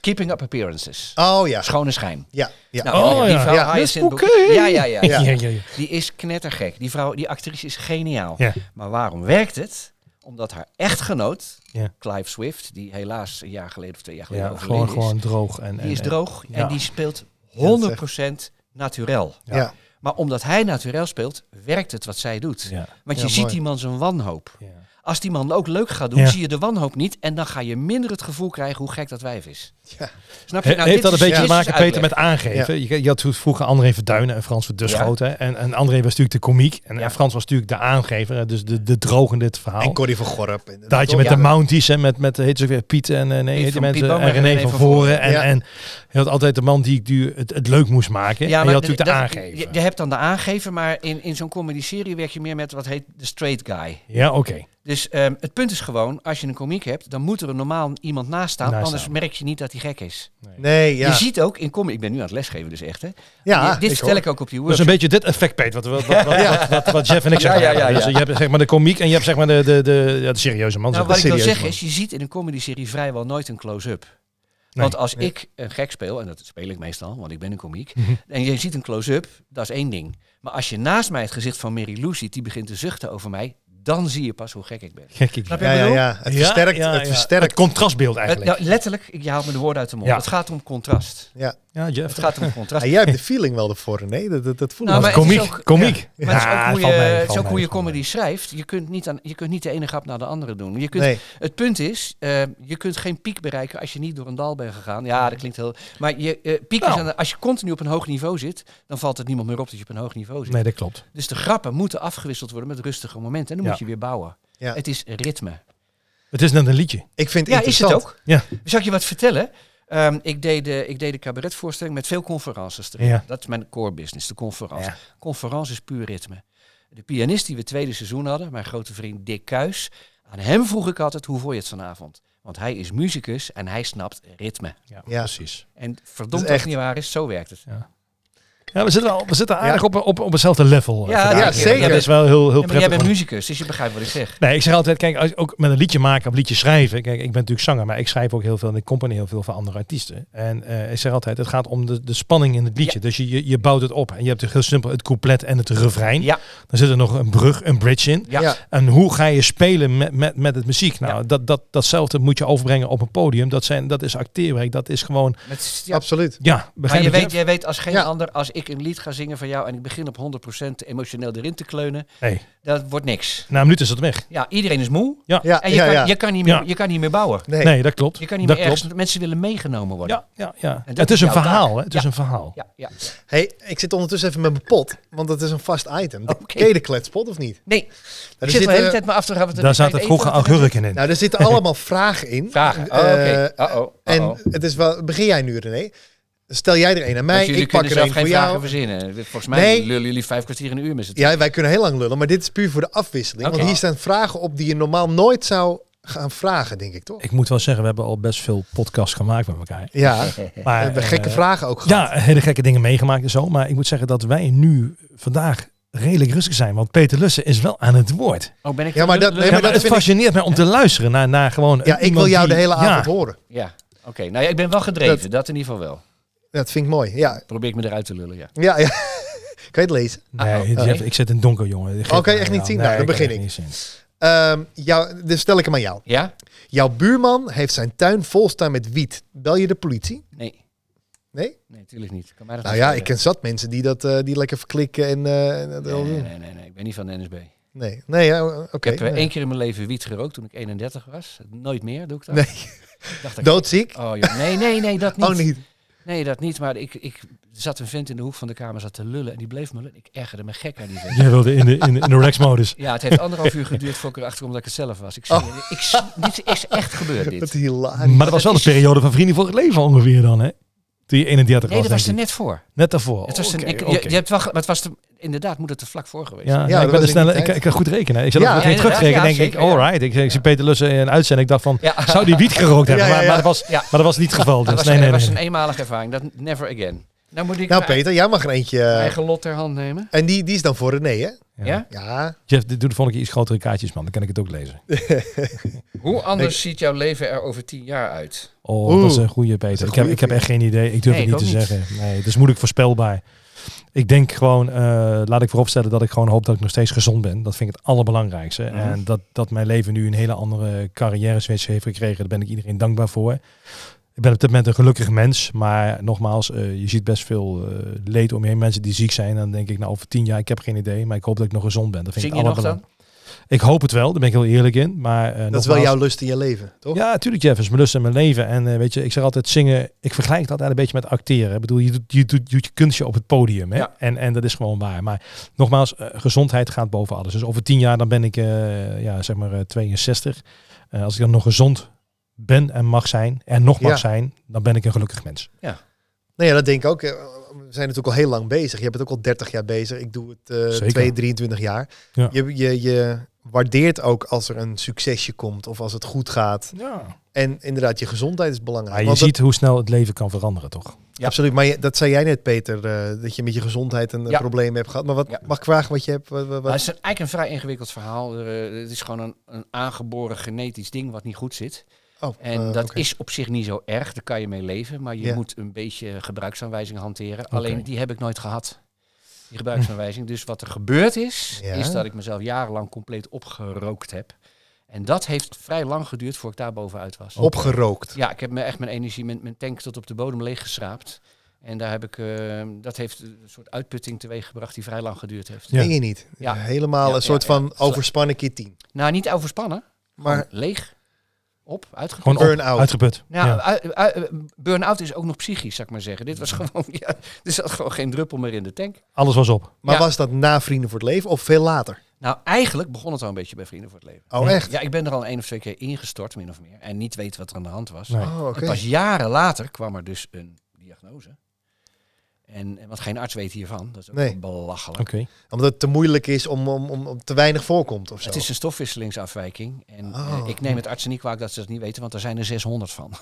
D: keeping up appearances.
A: Oh ja.
D: Schone schijn.
A: Ja, ja.
D: Nou,
C: Oh,
D: die
C: ja.
D: vrouw,
A: Ja.
D: Hyacinth
C: Miss
D: Bouquet.
C: Bouquet.
D: Ja, ja, ja.
A: Ja.
C: <laughs> Ja, ja, ja.
D: Die is knettergek. Die vrouw, die actrice is geniaal.
C: Ja.
D: Maar waarom werkt het? Omdat haar echtgenoot,
C: Ja.
D: Clive Swift, die helaas een jaar geleden of twee jaar geleden
C: Ja,
D: overleden
C: gewoon, eh,
D: is,
C: gewoon droog. En,
D: die
C: en-
D: is
C: en-
D: droog
C: ja.
D: en die speelt 100% naturel.
A: Ja.
D: Maar omdat hij naturel speelt, werkt het wat zij doet.
C: Ja.
D: Want
A: Ja,
D: je ziet
A: mooi.
D: die man zijn wanhoop.
C: Ja.
D: Als die man ook leuk gaat doen,
C: Ja.
D: zie je de wanhoop niet. En dan ga je minder het gevoel krijgen hoe gek dat wijf is.
A: Ja.
D: Snap je?
C: He-
D: Nou,
C: heeft
D: dit
C: dat een beetje
D: is-
C: te
D: dit is
C: maken,
D: dus
C: Peter, met aangeven? Je, je had toen vroeger André Verduinen en Frans Verduschoot. hè. En, en André was natuurlijk de komiek. En,
D: Ja.
C: en Frans was natuurlijk de aangever. hè. Dus de, de droog in dit
D: nou,
C: verhaal.
A: En Corrie van Gorp. en-
C: Daar had je met
A: Ja.
C: de Mounties en met, met heet ze ook weer Piet en eh, nee,
D: Piet
C: heet die
D: van
C: mensen,
D: Pietboom
C: en René van Voren. En,
A: Ja.
C: en je had altijd de man die, die het, het leuk moest maken. en je had natuurlijk de
D: dat-
C: aangever.
D: Je, je hebt dan de aangever, maar in, in zo'n comedy-serie werk je meer met wat heet de straight guy.
C: ja, oké.
D: Dus ehm, het punt is gewoon, als je een komiek hebt, dan moet er een normaal iemand naast staan.
C: Naast
D: anders
C: staan.
D: merk je niet dat hij gek is.
A: Nee, ja.
D: Je ziet ook in comedy, ik ben nu aan het lesgeven dus echt hè.
A: ja
D: dit
A: ik
D: vertel
A: hoor.
D: ik ook op die
C: Dat is
D: workshop.
C: een beetje dit effect, Peter, wat, wat,
D: <laughs>
C: wat, wat, wat, wat- wat Jeff en ik
D: Ja,
C: zeggen.
D: ja, ja, ja.
C: Dus je hebt zeg maar de komiek en je hebt zeg maar de, de, de, ja, de serieuze man.
D: Nou,
C: zeg
D: wat
C: maar.
D: ik wil
A: serieus,
D: zeggen
A: man.
D: is, je ziet in een comedy-serie vrijwel nooit een close-up.
C: Nee,
D: want als
A: nee.
D: ik een gek speel, en dat speel ik meestal, want ik ben een komiek, en je ziet een close-up, dat is één ding. Maar als je naast mij het gezicht van Mary Lou ziet, die begint te zuchten over mij, dan zie je pas hoe gek ik ben.
C: <laughs> Gek, ik-
D: Snap je
A: Ja,
D: wat ik
A: ja,
D: bedoel?
A: ja. Het
C: Ja,
A: versterkt.
C: ja,
A: het
C: ja.
A: versterkt.
C: Het contrastbeeld
D: Het-
C: eigenlijk.
D: nou, letterlijk, ik je haalt me de woorden uit de mond.
C: Ja.
D: Het gaat om contrast.
C: ja, Jeff.
D: Het gaat om
C: <laughs>
D: contrast.
A: Ja, jij hebt de feeling wel ervoor, nee? Dat, dat, dat voel ik
D: Nou,
A: wel.
D: maar het
C: komiek,
D: is ook-
C: komiek.
D: Maar het is ook hoe
C: valt
D: je,
C: mee,
D: het is
C: valt
D: ook hoe
C: mee,
D: je
C: valt mee.
D: comedy schrijft. Je kunt, niet aan, je kunt niet de ene grap naar de andere doen. Je kunt,
A: Nee,
D: Het punt is, eh, je kunt geen piek bereiken als je niet door een dal bent gegaan. Ja, dat klinkt heel... Maar je, eh, piek
C: Nou.
D: is aan de- als je continu op een hoog niveau zit, dan valt het niemand meer op dat je op een hoog niveau zit.
C: Nee, dat klopt.
D: Dus de grappen moeten afgewisseld worden met rustige momenten. En dan
C: Ja.
D: moet je weer bouwen.
A: Ja.
D: Het is ritme.
C: Het is net een liedje.
A: ik vind het
D: Ja, is het
A: interessant.
D: ook.
C: Ja.
D: Zal ik je wat vertellen? Ehm, ik, deed de, ik deed de cabaretvoorstelling met veel conferences erin.
C: Ja.
D: Dat is mijn core business, de conferentie.
C: Ja.
D: Conferentie is puur ritme. De pianist die we het tweede seizoen hadden, mijn grote vriend Dick Kuis. Aan hem vroeg ik altijd, hoe vond je het vanavond? Want hij is muzikus en hij snapt ritme.
C: Ja,
A: Ja.
C: precies.
D: En
A: Dat
D: verdomd
A: is
D: als
A: echt-
D: het niet waar is, zo werkt het.
C: Ja, we zitten, al, we zitten
A: Ja.
C: aardig op, op, op hetzelfde level. eh,
D: Ja,
C: vandaag.
A: ja, zeker.
C: Dat is wel heel, heel
D: Ja, maar jij
C: prettig.
D: bent
C: want-
D: muzikus, dus je begrijpt wat ik zeg.
C: Nee, ik zeg altijd, kijk, als, ook met een liedje maken of liedje schrijven. Kijk, ik ben natuurlijk zanger, maar ik schrijf ook heel veel en ik componeer heel veel voor andere artiesten. En eh, ik zeg altijd, het gaat om de, de spanning in het liedje. Dus je, je, je bouwt het op. En je hebt natuurlijk heel simpel het couplet en het refrein.
D: Ja.
C: Dan zit er nog een brug, een bridge in.
D: Ja.
A: Ja.
C: En hoe ga je spelen met, met, met het muziek? Nou, dat, dat, datzelfde moet je overbrengen op een podium. Dat, zijn, dat is acteerwerk, dat is gewoon,
D: Met, ja.
A: absoluut.
C: ja,
D: Maar
C: begrijp
D: je
C: je?
D: weet, jij weet als geen
A: Ja.
D: ander, als ik een lied ga zingen van jou en ik begin op 100% emotioneel erin te kleunen,
C: Hey,
D: dat wordt niks.
C: na een minuut is het weg.
D: Ja, iedereen is moe.
A: Ja,
D: En je,
A: ja,
D: kan,
A: ja.
D: Je, kan niet meer,
C: Ja.
D: je kan niet meer bouwen.
A: Nee.
C: Nee, dat klopt.
D: Je kan niet
C: dat
D: meer ergens, mensen willen meegenomen worden.
C: Ja, ja, ja.
D: dat
C: Het
D: is
C: is een
D: jouw
C: verhaal,
D: taak.
C: hè? Het
D: Ja.
C: is een verhaal.
D: Ja, ja.
A: Hey, ik zit ondertussen even met mijn pot, want dat is een vast item. De
D: Oké.
A: Ken je de kletspot of niet?
D: Nee,
A: Nou,
D: ik
A: er
D: zit de
A: zitten,
D: hele tijd maar af te gaan. wat er-
C: Daar zaten
D: eten,
C: vroeger
D: wat er-
C: augurken in.
A: nou, er
D: <laughs>
A: zitten allemaal vragen in.
D: Vragen. Oh,
A: Eh,
D: oké. Uh-oh, uh-oh.
A: En
D: Want
A: het is wel, begin jij nu René? Stel jij er een aan mij,
D: jullie
A: ik pak
D: kunnen
A: er
D: zelf
A: een
D: geen
A: voor
D: vragen
A: jou.
D: verzinnen. Eh, Volgens mij
A: Nee.
D: lullen jullie vijf kwartier in een uur met z'n
A: Ja, wij kunnen heel lang lullen, maar dit is puur voor de afwisseling.
D: Oké.
A: Want hier staan vragen op die je normaal nooit zou gaan vragen, denk ik toch?
C: Ik moet wel zeggen, we hebben al best veel podcasts gemaakt met elkaar.
A: Ja, we
C: Maar,
A: hebben gekke
C: eh,
A: vragen ook gehad.
C: Ja, hele gekke dingen meegemaakt en zo. Maar ik moet zeggen dat wij nu vandaag redelijk rustig zijn. Want Peter Lussen is wel aan het woord.
D: tweeën. Oh, ben ik
A: Ja, maar dat-
D: lullen-
A: nee, maar
C: Ja, maar
A: dat
C: het
A: vind ik-
C: fascineert mij om te luisteren naar, naar gewoon
A: Ja, ik wil
C: iemand
A: jou de
C: die-
A: hele
C: ja,
A: avond horen.
D: Ja, oké. Nou ja, ik ben wel gedreven. Dat, in ieder geval wel.
A: Dat vind ik mooi. Ja,
D: Probeer ik me eruit te lullen, ja.
A: ja, <laughs> ja. kan je het lezen?
C: Nee,
D: Uh-oh.
C: Jeff, ik zit in donker, jongen. Dat geeft
A: Oh, Oké,
C: mij
A: echt niet
C: wel.
A: zien. Nou, dan
C: kan
A: begin
C: echt niet zien.
A: Ehm, jou, dus stel ik hem aan jou.
D: Ja?
A: Jouw buurman heeft zijn tuin volstaan met wiet. Bel je de politie?
D: Nee.
A: Nee?
D: Nee, natuurlijk niet. Kan mij dat
A: Nou
D: niet
A: ja, ik
D: schelen.
A: ken zat mensen die dat eh, die lekker verklikken en eh, en dat heel
D: Nee,
A: doen.
D: nee, nee, nee. Ik ben niet van de NSB.
A: Nee, nee, ja, oké.
D: ik heb eh,
A: nee.
D: één keer in mijn leven wiet gerookt toen ik 31 was. Nooit meer doe ik dat.
A: Nee,
D: Ik dacht dat ik-
A: doodziek?
D: Oh joh, nee, nee, nee, dat niet.
A: Oh, niet.
D: Nee, dat niet. Maar ik, ik zat een vent in de hoek van de kamer zat te lullen. En die bleef me lullen. Ik ergerde me gek aan die vent.
C: Jij wilde in de, in,
A: <laughs>
C: de- in de
A: Ah,
C: relax-modus.
D: Ja, het heeft anderhalf uur geduurd voor ik erachter kwam dat ik het zelf was. Ik, zie,
C: Oh.
D: ik, zie- dit is echt gebeurd
A: Wat
D: dit.
A: hilarisch.
C: Maar dat was wel de periode van Vrienden voor het Leven ongeveer dan, hè? Toen je 31
D: Nee, dat
C: was,
D: was er
C: denk ik.
D: net voor.
C: Net daarvoor.
D: Het was er-
C: Oké,
D: ik- je-
C: oké.
D: je, hebt wel, ge- maar het was er- inderdaad moet het er vlak voor geweest.
C: Ja,
D: zijn.
C: ja,
A: dat was
C: ik ben
A: in
C: er snel.
A: die
C: Ik,
A: tijd.
C: ik kan goed rekenen. Ik zat
A: Ja,
C: nog geen
D: inderdaad.
C: terugrekenen.
D: Ja,
C: denk ik,
D: zeker, ja.
C: alright. Ik, ik zie Peter Lussen in een uitzending. Ik dacht van,
D: Ja.
C: zou die wiet gerookt hebben?
A: Ja, ja,
C: Maar, maar,
A: ja.
C: dat was,
D: Ja.
C: maar dat was niet het geval.
D: Dat
C: Dus
D: was,
C: nee, nee,
D: was
C: nee.
D: een eenmalige ervaring. Dat never again. Nou moet ik
A: Nou,
D: mijn
A: Peter, jij mag er eentje. eh,
D: eigen lot ter hand nemen.
A: En die, die is dan voor René, hè?
C: Ja.
D: Ja?
A: Ja.
C: Jeff, dit- doe de volgende keer iets grotere kaartjes, man. Dan kan ik het ook lezen.
D: Hoe anders ziet jouw leven er over tien jaar uit?
C: Oh,
A: Oeh.
C: dat is een goede, Peter. Ik heb, ik heb echt geen idee. Ik durf
D: Nee,
C: het
D: ik
C: niet te
D: ook niet.
C: zeggen. Nee, het is moeilijk voorspelbaar. Ik denk gewoon, eh, laat ik vooropstellen dat ik gewoon hoop dat ik nog steeds gezond ben. Dat vind ik het allerbelangrijkste.
D: Mhm.
C: En dat, dat mijn leven nu een hele andere carrière switch heeft gekregen, daar ben ik iedereen dankbaar voor. Ik ben op dit moment een gelukkig mens, maar nogmaals, eh, je ziet best veel eh, leed om je heen. Mensen die ziek zijn, dan denk ik, nou over tien jaar, ik heb geen idee, maar ik hoop dat ik nog gezond ben. Dat vind
D: Zing
C: ik
D: je nog dan?
C: allerbelang- Ik hoop het wel, daar ben ik heel eerlijk in. Maar, eh,
A: Dat is wel
C: nogmaals-
A: jouw lust in je leven, toch?
C: Ja, natuurlijk Jeff, is mijn lust en mijn leven. En eh, weet je, ik zeg altijd zingen, ik vergelijk het altijd een beetje met acteren. Ik bedoel, je doet je, doet, je, doet je kunstje op het podium. Hè?
D: Ja.
C: En, en dat is gewoon waar. Maar nogmaals, eh, gezondheid gaat boven alles. Dus over tien jaar dan ben ik, eh, ja, zeg maar, eh, 62. Eh, als ik dan nog gezond ben en mag zijn, en nog mag
A: Ja.
C: zijn, dan ben ik een gelukkig mens.
A: Nee, ja, dat denk ik ook. Eh, We zijn natuurlijk al heel lang bezig. Je bent ook al 30 jaar bezig. Ik doe het eh
C: Zeker.
A: 2, 23 jaar.
C: Ja.
A: Je, je, je waardeert ook als er een succesje komt of als het goed gaat.
C: Ja.
A: En inderdaad, je gezondheid is
C: Maar
A: belangrijk.
C: je
A: Want dat-
C: ziet hoe snel het leven kan veranderen, toch?
D: Ja.
A: Absoluut, maar je- dat zei jij net, Peter, eh, dat je met je gezondheid een eh,
D: Ja.
A: probleem hebt gehad. Maar wat
D: Ja.
A: mag ik vragen wat je hebt? Wat, wat-
D: Maar
A: wat-
D: Nou, het is een- eigenlijk een vrij ingewikkeld verhaal. Er, eh, het is gewoon een, een aangeboren genetisch ding wat niet goed zit.
A: oh,
D: En
A: eh,
D: dat
A: oké.
D: is op zich niet zo erg, daar kan je mee leven. Maar je
A: Ja.
D: moet een beetje gebruiksaanwijzing hanteren. Alleen die heb ik nooit gehad, die gebruiksaanwijzing. Dus wat er gebeurd is,
A: Ja.
D: is dat ik mezelf jarenlang compleet opgerookt heb. En dat heeft vrij lang geduurd voordat ik daar bovenuit was.
A: opgerookt.
D: Ja, ik heb me echt mijn energie, mijn, mijn tank tot op de bodem leeggeschraapt. En daar heb ik, eh, dat heeft een soort uitputting teweeggebracht die vrij lang geduurd heeft.
C: Ja.
A: Meen je niet?
D: Ja.
A: Helemaal
D: Ja,
A: een soort
D: ja, ja.
A: van overspannen keer 10.
D: Nou, niet overspannen,
A: Maar
D: maar leeg, op, uitgeput.
C: Gewoon op-
A: burn-out.
C: uitgeput.
D: Nou,
C: ja.
D: ui- ui- ui- burn-out is ook nog psychisch, zou ik maar zeggen. Dit was gewoon, ja, <laughs> er zat gewoon geen druppel meer in de tank.
C: Alles was op.
A: Maar
D: Ja.
A: was dat na Vrienden voor het Leven of veel later?
D: Nou, eigenlijk begon het al een beetje bij Vrienden voor het Leven.
A: Oh, echt?
D: Ja, ik ben er al één of twee keer ingestort, min of meer. En niet weet wat er aan de hand was.
C: Nee.
A: Oh, oké.
D: En pas jaren later kwam er dus een diagnose. En, en want geen arts weet hiervan. Dat is ook
A: Nee.
D: wel belachelijk.
C: Oké.
A: Omdat het te moeilijk is om, om, om, om te weinig voorkomt of zo.
D: Het is een stofwisselingsafwijking. En
A: Oh.
D: eh, ik neem het artsen niet kwalijk dat ze dat niet weten, want er zijn er 600 van. <laughs>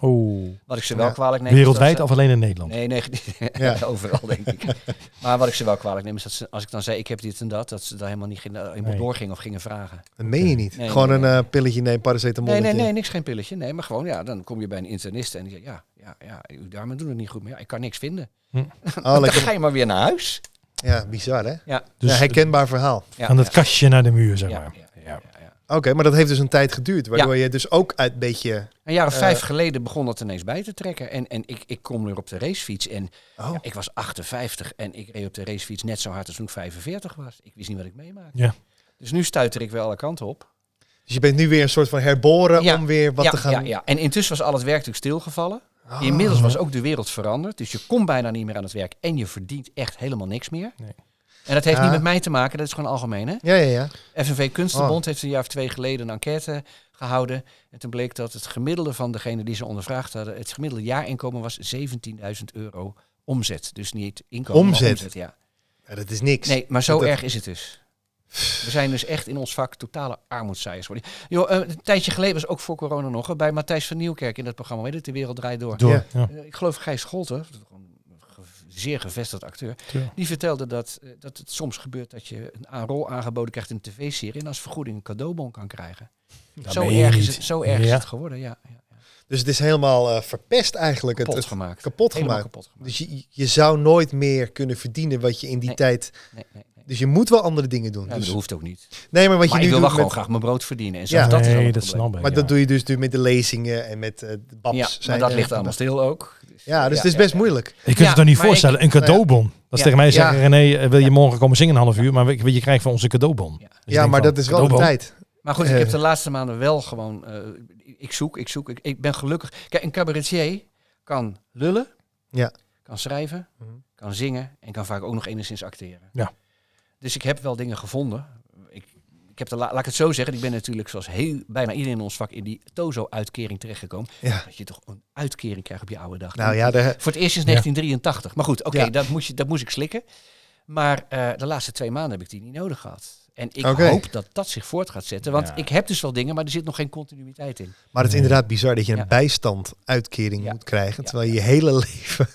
C: Oh.
D: Wat ik ze wel
A: Ja.
D: kwalijk neem. is dat
C: Wereldwijd
D: ze-
C: of alleen in Nederland?
D: eh, Nee, nee, <laughs>
A: Ja.
D: overal denk ik. Maar wat ik ze wel kwalijk neem is dat ze, als ik dan zei ik heb dit en dat, dat ze daar helemaal niet gingen- helemaal
C: Nee.
D: doorgingen of gingen vragen.
A: Dat meen je niet.
D: Nee,
A: Gewoon
D: nee,
A: een
D: nee.
A: eh, pilletje nemen, paracetamol.
D: Nee, nee, nee, niks, geen pilletje. Nee, maar gewoon, ja, dan kom je bij een internist en die zegt, ja, ja, ja, uw darmen doen het niet goed meer. Ik kan niks vinden. <laughs>
A: Oh,
D: dan
A: lekker.
D: ga je maar weer naar huis.
A: Ja, bizar hè?
D: Ja,
C: Dus
A: ja, herkenbaar verhaal.
D: ja,
C: aan het
D: ja,
C: kastje naar de muur, zeg
D: ja,
C: maar.
D: ja,
C: Ja.
D: ja, ja.
A: Oké, maar dat heeft dus een tijd geduurd. Waardoor je dus ook uit een beetje...
D: Een jaar of
A: Eh.
D: vijf geleden begon dat ineens bij te trekken. En, en ik, ik kom weer op de racefiets. En
A: Oh,
D: ja, ik was 58 en ik reed op de racefiets net zo hard als toen ik 45 was. Ik wist niet wat ik meemaakte.
C: Ja.
D: Dus nu stuiter ik weer alle kanten op.
A: Dus je bent nu weer een soort van herboren
D: Ja.
A: om weer wat
D: ja,
A: te gaan...
D: ja, ja. En intussen was al het werk natuurlijk stilgevallen.
A: Oh.
D: Inmiddels was ook de wereld veranderd. Dus je komt bijna niet meer aan het werk. En je verdient echt helemaal niks meer.
C: Nee.
D: En dat heeft
A: Ja.
D: niet met mij te maken. Dat is gewoon algemeen. Hè?
A: Ah. Ja, ja, ja.
D: FNV Kunstenbond
A: Oh.
D: heeft een jaar of twee geleden een enquête gehouden. En toen bleek dat het gemiddelde van degene die ze ondervraagd hadden... het gemiddelde jaarinkomen was 17.000 euro omzet. Dus niet inkomen,
A: Omzet?
D: maar omzet ja.
A: Ja, dat is niks.
D: Nee, maar zo
A: Dat-
D: erg is het dus. We zijn dus echt in ons vak totale armoedzaaiers geworden. Joh, eh, een tijdje geleden was ook voor corona nog hè, bij Matthijs van Nieuwkerk in dat programma. Weet het, de wereld draait door.
C: Door.
A: Ja.
C: Ja.
D: Eh, Ik geloof Gijs Scholten, een ge- zeer gevestigd acteur,
C: Ja.
D: die vertelde dat, eh, dat het soms gebeurt dat je een a- rol aangeboden krijgt in een tv-serie en als vergoeding een cadeaubon kan krijgen. Zo
C: meen je
D: erg, is
C: niet.
D: het, zo erg is
C: Ja.
D: het geworden, ja. ja.
A: Dus het is helemaal eh, verpest eigenlijk. Het-
D: Kapot
A: het,
D: gemaakt.
A: kapot
D: Helemaal
A: gemaakt.
D: kapot gemaakt.
A: Dus je, je zou nooit meer kunnen verdienen wat je in die
D: Nee.
A: tijd...
D: Nee, nee, nee.
A: Dus je moet wel andere dingen doen.
D: Ja, maar
A: dus,
D: dat hoeft ook niet.
A: nee, maar wat
D: Maar
A: je
D: ik
A: nu doet
D: wil wel
A: met-
D: gewoon graag mijn brood verdienen. En zo,
A: Ja.
D: dat is al
C: nee,
D: een
C: dat
D: probleem.
C: snap ik.
A: Maar dat
C: ja.
A: doe je dus nu met de lezingen en met eh, de babs.
D: Ja, maar
A: zijn
D: dat
A: er-
D: ligt allemaal stil ook.
A: Ja, dus
D: Ja,
A: het is
D: ja,
A: best
D: ja.
A: moeilijk.
C: Je kunt het toch niet
D: maar
C: voorstellen, een cadeaubon. Dat is
D: Ja.
C: tegen mij zeggen,
A: Ja.
C: René, eh, wil je morgen komen zingen een half uur? Maar we- je krijgt van ons een cadeaubon.
D: Ja.
C: Dus ik
A: ja,
C: denk
A: maar
C: van,
A: dat is wel de
C: cadeaubon?
A: tijd.
D: Maar goed, ik
A: Eh.
D: heb de laatste maanden wel gewoon... eh, ik zoek, ik zoek, ik, ik ben gelukkig. Kijk, een cabaretier kan lullen,
A: Ja.
D: kan schrijven,
A: Mhm.
D: kan zingen en kan vaak ook nog enigszins acteren.
C: Ja.
D: Dus ik heb wel dingen gevonden. Ik, ik heb de, la- laat ik het zo zeggen, ik ben natuurlijk zoals heel, bijna iedereen in ons vak in die Tozo-uitkering terechtgekomen.
A: Ja.
D: Dat je toch een uitkering krijgt op je oude dag.
A: Nou ja, daar-
D: Voor het eerst sinds
C: Ja.
D: 1983. Maar goed, oké,
A: Ja.
D: dat, moest je- dat moest ik slikken. Maar eh, de laatste twee maanden heb ik die niet nodig gehad. En ik
A: Oké.
D: hoop dat dat zich voort gaat zetten. Want
C: Ja.
D: ik heb dus wel dingen, maar er zit nog geen continuïteit in.
A: maar het is
C: Nee.
A: inderdaad bizar dat je een
D: Ja.
A: bijstanduitkering
D: Ja.
A: moet krijgen.
D: Ja.
A: Terwijl je je hele <laughs> leven...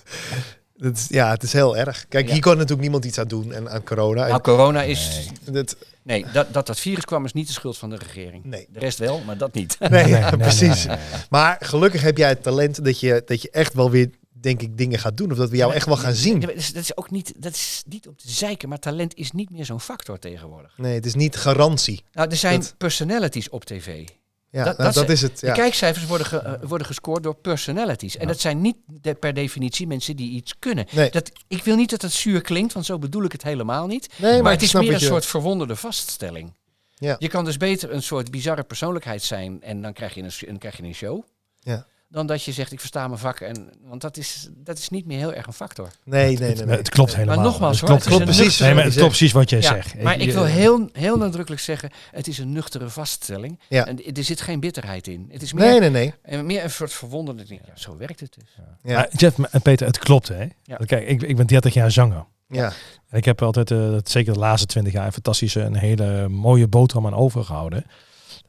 A: Dat is, ja, het is heel erg. Kijk,
D: Ja.
A: hier kan natuurlijk niemand iets aan doen en aan corona.
D: Nou, corona is...
A: En dat,
D: Nee, dat, dat dat virus kwam is niet de schuld van de regering. <laughs>
A: nee.
D: De rest wel, maar
A: <laughs>
D: dat niet.
A: Nee,
C: Nee,
A: ja,
C: nee,
A: precies.
C: nee, nee, nee.
A: Maar gelukkig heb jij het talent dat je, dat je echt wel weer, denk ik, dingen gaat doen. Of dat we jou echt wel gaan
D: Nee,
A: zien.
D: maar Dat is, dat is ook niet, dat is niet om te zeiken, maar talent is niet meer zo'n factor tegenwoordig.
A: Nee, het is niet garantie.
D: Nou, er zijn
A: Dat-
D: personalities op tv.
A: Ja,
D: Dat-
A: dat,
D: dat
A: dat,
D: is-
A: is het.
D: De
A: Ja.
D: kijkcijfers worden, ge- eh, worden gescoord door personalities. En dat zijn niet de- per definitie mensen die iets kunnen.
A: Nee.
D: Dat, ik wil niet dat het zuur klinkt, want zo bedoel ik het helemaal niet.
A: Nee, maar,
D: maar
A: ik
D: het is
A: snap
D: meer een
A: wat je-
D: soort verwonderde vaststelling.
A: Ja.
D: Je kan dus beter een soort bizarre persoonlijkheid zijn en dan krijg je een, dan krijg je een show.
A: Ja.
D: Dan dat je zegt, ik versta mijn vak. En, want dat is, dat is niet meer heel erg een factor.
A: Nee, nee, nee.
C: Nee,
A: nee.
C: het klopt helemaal.
D: nogmaals,
C: het
D: hoor,
C: klopt,
A: het is
C: klopt
A: een
C: precies.
A: nuchter-
C: Nee, maar het klopt precies wat jij
D: Ja,
C: zegt.
D: maar ik wil
C: eh,
D: heel, heel nadrukkelijk zeggen, het is een nuchtere vaststelling.
A: Ja.
D: En er zit geen bitterheid in. Het is meer,
A: Nee, nee, nee.
D: en meer een soort verwonderde ding. Ja, zo werkt het dus.
A: Ja.
C: Maar Ah, Jeff en Peter, het klopt, hè?
D: Ja.
C: Kijk, ik, ik ben 30 jaar zanger.
A: Ja.
C: En ik heb altijd, eh, dat zeker de laatste 20 jaar, een fantastische, een hele mooie boterham aan overgehouden.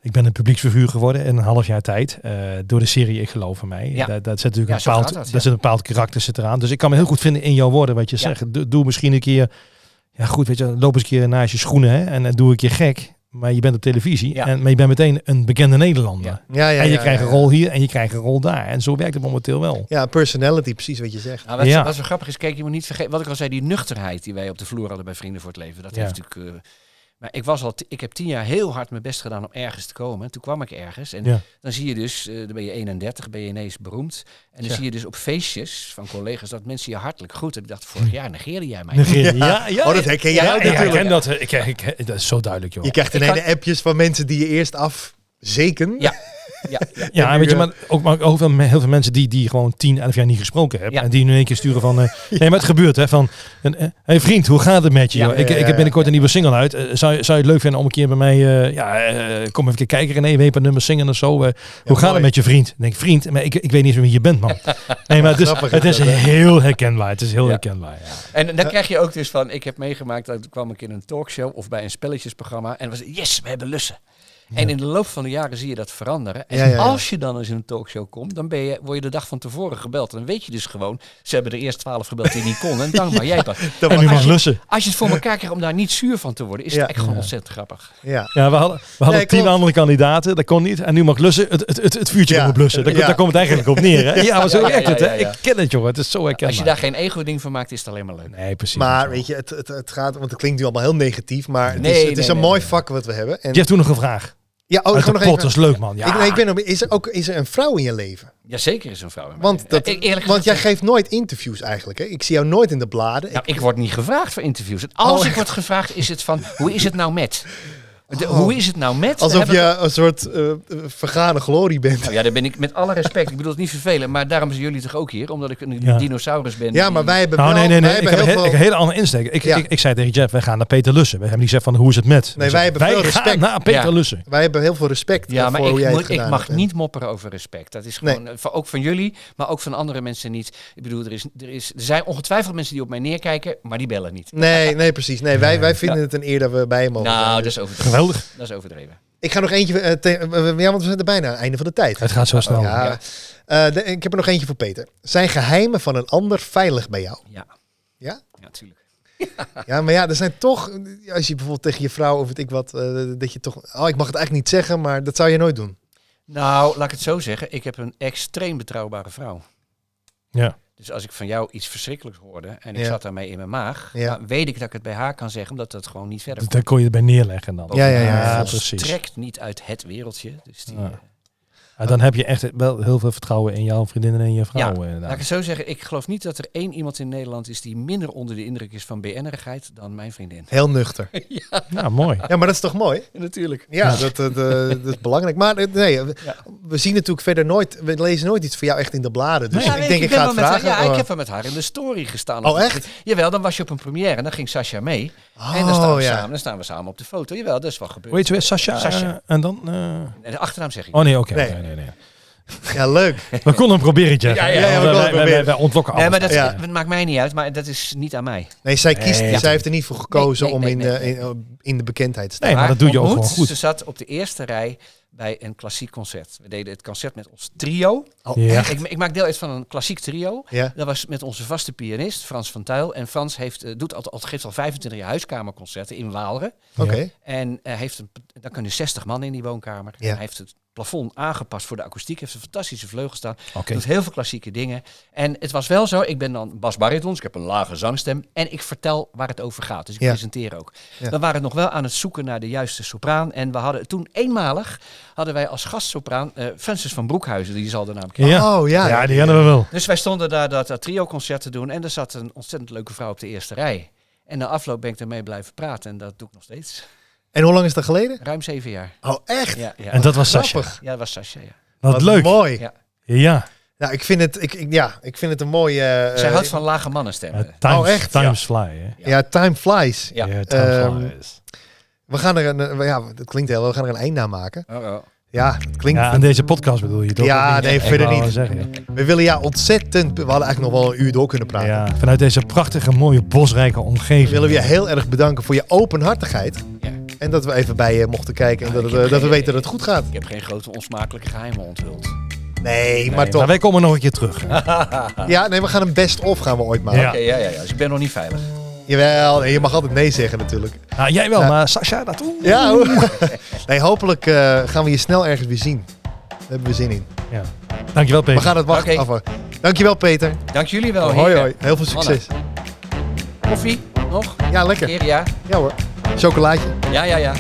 C: Ik ben een publieksfiguur geworden in een half jaar tijd. eh, door de serie Ik Geloof in Mij.
D: Ja.
C: Daar, daar zit natuurlijk
D: Ja, zo
C: een,
D: gaat
C: bepaald,
D: dat, ja.
C: daar zit een bepaald karakter zit eraan. Dus ik kan me heel goed vinden in jouw woorden wat je zegt. Doe, doe misschien een keer, ja goed, weet je, loop eens een keer naast je schoenen hè, en eh, doe ik je gek. Maar je bent op televisie
D: Ja.
C: en maar je bent meteen een bekende Nederlander.
D: Ja.
A: Ja, ja,
C: en je
A: ja,
C: krijgt
A: ja.
C: een rol hier en je krijgt een rol daar. En zo werkt het momenteel wel.
A: Ja, personality, precies wat je zegt.
D: Nou, wat,
C: Ja.
D: wat zo grappig is, kijk, je moet niet vergeten, wat ik al zei, die nuchterheid die wij op de vloer hadden bij Vrienden voor het Leven. Dat
C: Ja.
D: heeft natuurlijk. eh, maar ik, was al t- ik heb tien jaar heel hard mijn best gedaan om ergens te komen. Toen kwam ik ergens. En
C: Ja.
D: dan zie je dus, eh, dan ben je 31, ben je ineens beroemd. En dan
A: Ja.
D: zie je dus op feestjes van collega's dat mensen je hartelijk groeten. Ik dacht,
C: Hm.
D: vorig jaar negeerde jij mij.
C: Negeren. Ja, ja,
A: Oh, dat herken jij
D: Ja,
A: ook
C: Ja, ik
A: natuurlijk.
C: ken dat. Ik, ik, ik- dat is zo duidelijk, joh.
A: Je krijgt
D: Ik
A: ineens appjes van mensen die je eerst afzeken.
D: Ja. Ja, ja.
C: Ja,
A: En
C: weet je,
A: nu, eh,
C: maar ook, maar ook heel, veel, heel veel mensen die, die gewoon 10, 11 jaar niet gesproken hebben.
D: Ja.
C: En die nu in één keer sturen
A: <laughs>
C: van... eh, Nee, maar het gebeurt, hè. Van, een, eh, hey vriend, hoe gaat het met je?
A: Ja,
C: joh?
A: ja,
C: ik,
A: ja,
C: ik
A: ja.
C: heb binnenkort een nieuwe single uit. Eh, zou, je- zou je het leuk vinden om een keer bij mij... eh, ja, eh, kom even een keer kijken, René. We hebben nummers zingen en zo. eh, hoe gaat het
A: mooi.
C: met je vriend? Ik denk, vriend, maar ik, ik weet niet eens wie je bent, man.
A: <laughs>
C: Nee, maar het is,
A: Grappig is
C: het is
A: dat, hè?
C: heel herkenbaar. Het is heel
D: Ja.
C: herkenbaar, ja.
D: En dan krijg je ook dus van, ik heb meegemaakt, dat kwam ik in een talkshow of bij een spelletjesprogramma. En was het, yes, we hebben lussen. En in de loop van de jaren zie je dat veranderen. En
A: Ja, ja, ja.
D: als je dan eens in een talkshow komt, dan ben je, word je de dag van tevoren gebeld. Dan weet je dus gewoon, ze hebben er eerst twaalf gebeld die niet konden. En dankbaar, jij pas.
A: dat
C: En nu
A: was-
C: was lussen.
D: Als je het voor elkaar krijgt om daar niet zuur van te worden, is het
A: Ja.
D: echt gewoon ontzettend grappig.
A: ja.
C: Ja, we hadden, we hadden
A: Nee,
C: tien
A: klopt.
C: andere kandidaten. Dat kon niet. En nu mag lussen. Het, het, het, het vuurtje
A: Ja.
C: moet blussen. Daar,
A: Ja.
C: daar komt het eigenlijk op
A: <laughs>
C: neer, hè? Ja, maar zo
D: Ja, ja,
C: werkt het, hè?
D: ja, ja.
C: Ik ken het, joh. Het is zo herkenbaar.
D: Als je daar geen ego-ding van maakt, is het alleen maar leuk.
C: Nee, precies.
A: Maar weet je, het, het, het gaat, want het klinkt nu allemaal heel negatief, maar het
D: Nee,
A: is, het
D: nee,
A: is
D: nee,
A: een mooi
D: nee.
A: vak wat we hebben. En,
C: Je hebt toen nog een vraag.
A: ja, oh,
C: Uit
A: gewoon
C: de
A: nog
C: pot, dat
A: even.
C: is leuk, man. Ja.
A: Ik, nee, ik ben, op- is, er ook, is er een vrouw in je leven?
D: Jazeker is een vrouw. in mijn
A: Want,
D: leven.
A: dat,
D: Eh, ik- eerlijk
A: want jij
D: gezegd-
A: geeft nooit interviews eigenlijk. Hè? Ik zie jou nooit in de bladen.
D: Nou, ik word niet gevraagd voor interviews. En als
A: Oh,
D: ik word gevraagd, is het van, hoe is het nou met? De- Hoe is het nou met?
A: Alsof
D: Hebben-
A: je een soort eh, vergane glorie bent.
D: Nou ja, daar ben ik met alle respect. Ik bedoel het niet vervelen, maar daarom zijn jullie toch ook hier, omdat ik een
C: Ja.
D: dinosaurus ben.
A: Ja,
D: die-
A: maar wij hebben
C: nou,
A: wel,
C: nee, nee,
A: wij
C: nee. Ik
A: hebben
C: heb een
A: heel
C: he-
A: veel-
C: ik heb een hele andere insteek. Ik,
A: Ja.
C: ik, ik zei tegen Jeff, wij gaan naar Peter Lussen. We hebben niet gezegd van, hoe is het met? We
A: wij
C: zeggen,
A: hebben veel
C: gaan
A: respect.
C: naar Peter
D: Ja.
C: Lussen.
A: Wij hebben heel veel respect
D: Ja,
A: eh,
D: maar
A: voor hoe
D: ik,
A: jij
D: moet-
A: het
D: ik
A: gedaan
D: mag
A: hebt.
D: niet mopperen over respect. Dat is gewoon, eh, voor- ook van jullie, maar ook van andere mensen niet. Ik bedoel, er, is, er, is, er zijn ongetwijfeld mensen die op mij neerkijken, maar die bellen niet.
A: Nee, nee, precies. Nee, wij, wij vinden het een eer dat we bij je mogen zijn.
D: nou, dat
A: Dus
D: is overdreven.
C: Geweldig.
D: Dat is overdreven.
A: Ik ga nog eentje... eh, te- eh, ja, want we zijn er bijna aan het einde van de tijd.
C: Het gaat zo snel.
A: Oh, ja.
D: ja.
A: Eh, de- ik heb er nog eentje voor Peter. Zijn geheimen van een ander veilig bij jou?
D: Ja.
A: Ja?
D: Ja, tuurlijk. Ah.
A: Ja, maar ja, er zijn toch... Als je bijvoorbeeld tegen je vrouw of weet ik wat... eh, dat je toch... Oh, ik mag het eigenlijk niet zeggen, maar dat zou je nooit doen.
D: Nou, laat ik het zo zeggen. Ik heb een extreem betrouwbare vrouw.
C: Ja.
D: Dus als ik van jou iets verschrikkelijks hoorde en ik
A: Ja.
D: zat daarmee in mijn maag,
A: Ja.
D: dan weet ik dat ik het bij haar kan zeggen, omdat dat gewoon niet verder
C: Dat- Daar kon je erbij neerleggen dan.
A: Ja, ja, ja,
C: ja,
D: precies.
C: precies.
D: Trekt niet uit het wereldje. Dus die,
C: Ja.
D: eh,
C: Ja, dan heb je echt wel heel veel vertrouwen in jouw vriendinnen en je vrouw. eh,
D: Laat ik
C: inderdaad.
D: het zo zeggen, ik geloof niet dat er één iemand in Nederland is die minder onder de indruk is van BN'erigheid dan mijn vriendin.
A: Heel nuchter.
C: Ja, mooi.
A: Ja, maar dat is toch mooi?
D: <laughs> Natuurlijk.
A: Ja,
C: Ja.
A: Dat, dat, eh, <laughs> dat is belangrijk. Maar eh, nee, we,
D: Ja.
A: we zien natuurlijk verder nooit... We lezen nooit iets van jou echt in de bladen. Dus
C: Nee.
A: ik denk, ik, ga het vragen.
D: ja, ik
A: maar-
D: heb wel met haar in de story gestaan.
A: Oh, echt?
D: Jawel, dan was je op een première en dan ging Sascha mee. en dan
A: Oh,
D: staan, we
A: ja.
D: samen, dan staan we samen op de foto. Jawel, dat is wel gebeurd.
C: Weet je weer, Sascha?
D: Sascha.
C: eh, en dan? eh,
D: En de achternaam zeg ik.
C: Oh nee, oké.
A: Nee.
C: Nee, nee, nee.
A: Ja, leuk.
C: We konden hem proberen, Jeff.
D: Ja, ja,
A: ja, we
C: Want
A: konden
C: eh, wij-
A: hem
C: wij-
A: proberen.
C: Wij ontlokken alles.
D: Nee, maar dat,
A: oh, Ja.
D: dat maakt mij niet uit, maar dat is niet aan mij.
A: Nee, zij kiest,
C: Nee.
A: zij heeft er niet voor gekozen
D: Nee, nee,
A: om in,
D: nee,
A: eh,
D: nee,
A: in, eh, in de bekendheid te staan.
C: Nee, maar dat doe je ook
D: ontmoet.
C: gewoon goed.
D: Ze zat op de eerste rij bij een klassiek concert. We deden het concert met ons trio.
C: Ja.
D: Ik, ik maak deel uit van een klassiek trio.
A: Ja.
D: Dat was met onze vaste pianist, Frans van Tuyl. En Frans heeft, eh, doet al, al, geeft al 25 jaar huiskamerconcerten in Waalre.
A: Oké.
D: En eh, heeft een, daar kunnen 60 man in die woonkamer.
A: Ja.
D: Hij heeft het plafond aangepast voor de akoestiek. Heeft een fantastische vleugel staan.
C: Oké.
D: Doet heel veel klassieke dingen. En het was wel zo, ik ben dan Bas Baritons, ik heb een lage zangstem. En ik vertel waar het over gaat. Dus ik
A: Ja.
D: presenteer ook.
A: Ja.
D: We waren nog wel aan het zoeken naar de juiste sopraan. En we hadden toen eenmalig, hadden wij als gastsopraan eh Francis van Broekhuizen. Die zal de naam kennen.
C: Ja.
A: Oh, ja.
C: ja, die kennen we wel.
D: Dus wij stonden daar dat, dat trio-concert te doen. En er zat een ontzettend leuke vrouw op de eerste rij. En na afloop ben ik ermee blijven praten. En dat doe ik nog steeds.
A: En hoe lang is dat geleden?
D: Ruim zeven
A: <laughs>
D: jaar.
A: Oh, echt?
D: Ja, ja.
C: En dat was Sascha.
A: Grappig.
D: ja dat was Sascha, ja.
C: Wat leuk.
A: Mooi.
D: Ja.
C: Ja,
A: Nou, ik vind het, ik, ik- ja, ik vind het een mooie... eh,
D: Zij
A: eh,
D: houdt van lage mannenstemmen.
C: eh, times,
A: Oh, echt?
C: times fly. Hè?
A: Ja. time flies.
D: Ja.
C: Ja, times
A: Ehm,
C: flies.
A: We gaan er een, eh, ja, dat klinkt heel, we gaan er een einde aan maken.
D: Oh, oh.
A: Ja, dat klinkt...
C: Ja, aan deze podcast bedoel je toch?
A: Ja,
C: Of niet?
A: nee,
C: Ik
A: verder
C: wou
A: niet.
C: zeggen.
A: We willen ja ontzettend... We hadden eigenlijk nog wel een uur door kunnen praten.
C: Ja, vanuit deze prachtige, mooie, bosrijke omgeving.
A: willen we je heel erg bedanken voor je openhartigheid.
D: Ja.
A: En dat we even bij je mochten kijken en
D: Ja,
A: dat,
D: ik
A: het,
D: heb
A: eh, dat we
D: geen-
A: weten dat het goed gaat.
D: Ik heb geen grote onsmakelijke geheimen onthuld.
A: Nee, maar
C: Maar
A: toch.
C: wij komen nog een keer terug.
A: Ja, nee, we gaan een best-of gaan we ooit maken.
C: Ja.
D: Oké, ja, ja, ja. Dus ik ben nog niet veilig.
A: Jawel, nee, je mag altijd nee zeggen natuurlijk.
C: Nou, jij wel,
A: Ja.
C: maar Sascha, dat oeh.
A: Ja, hoor. <laughs> Nee, hopelijk eh, gaan we je snel ergens weer zien. Daar hebben we zin in.
C: Ja. Dankjewel, Peter.
A: We gaan het wachten
D: Oké. Oh,
A: afwachten. Dankjewel Peter.
D: Dank jullie wel.
A: hoi
D: heren.
A: hoi. Heel veel succes.
D: Koffie? Nog?
A: Ja, lekker.
D: Keer, ja?
A: Ja hoor. Chocolaatje.
D: Ja, ja, ja.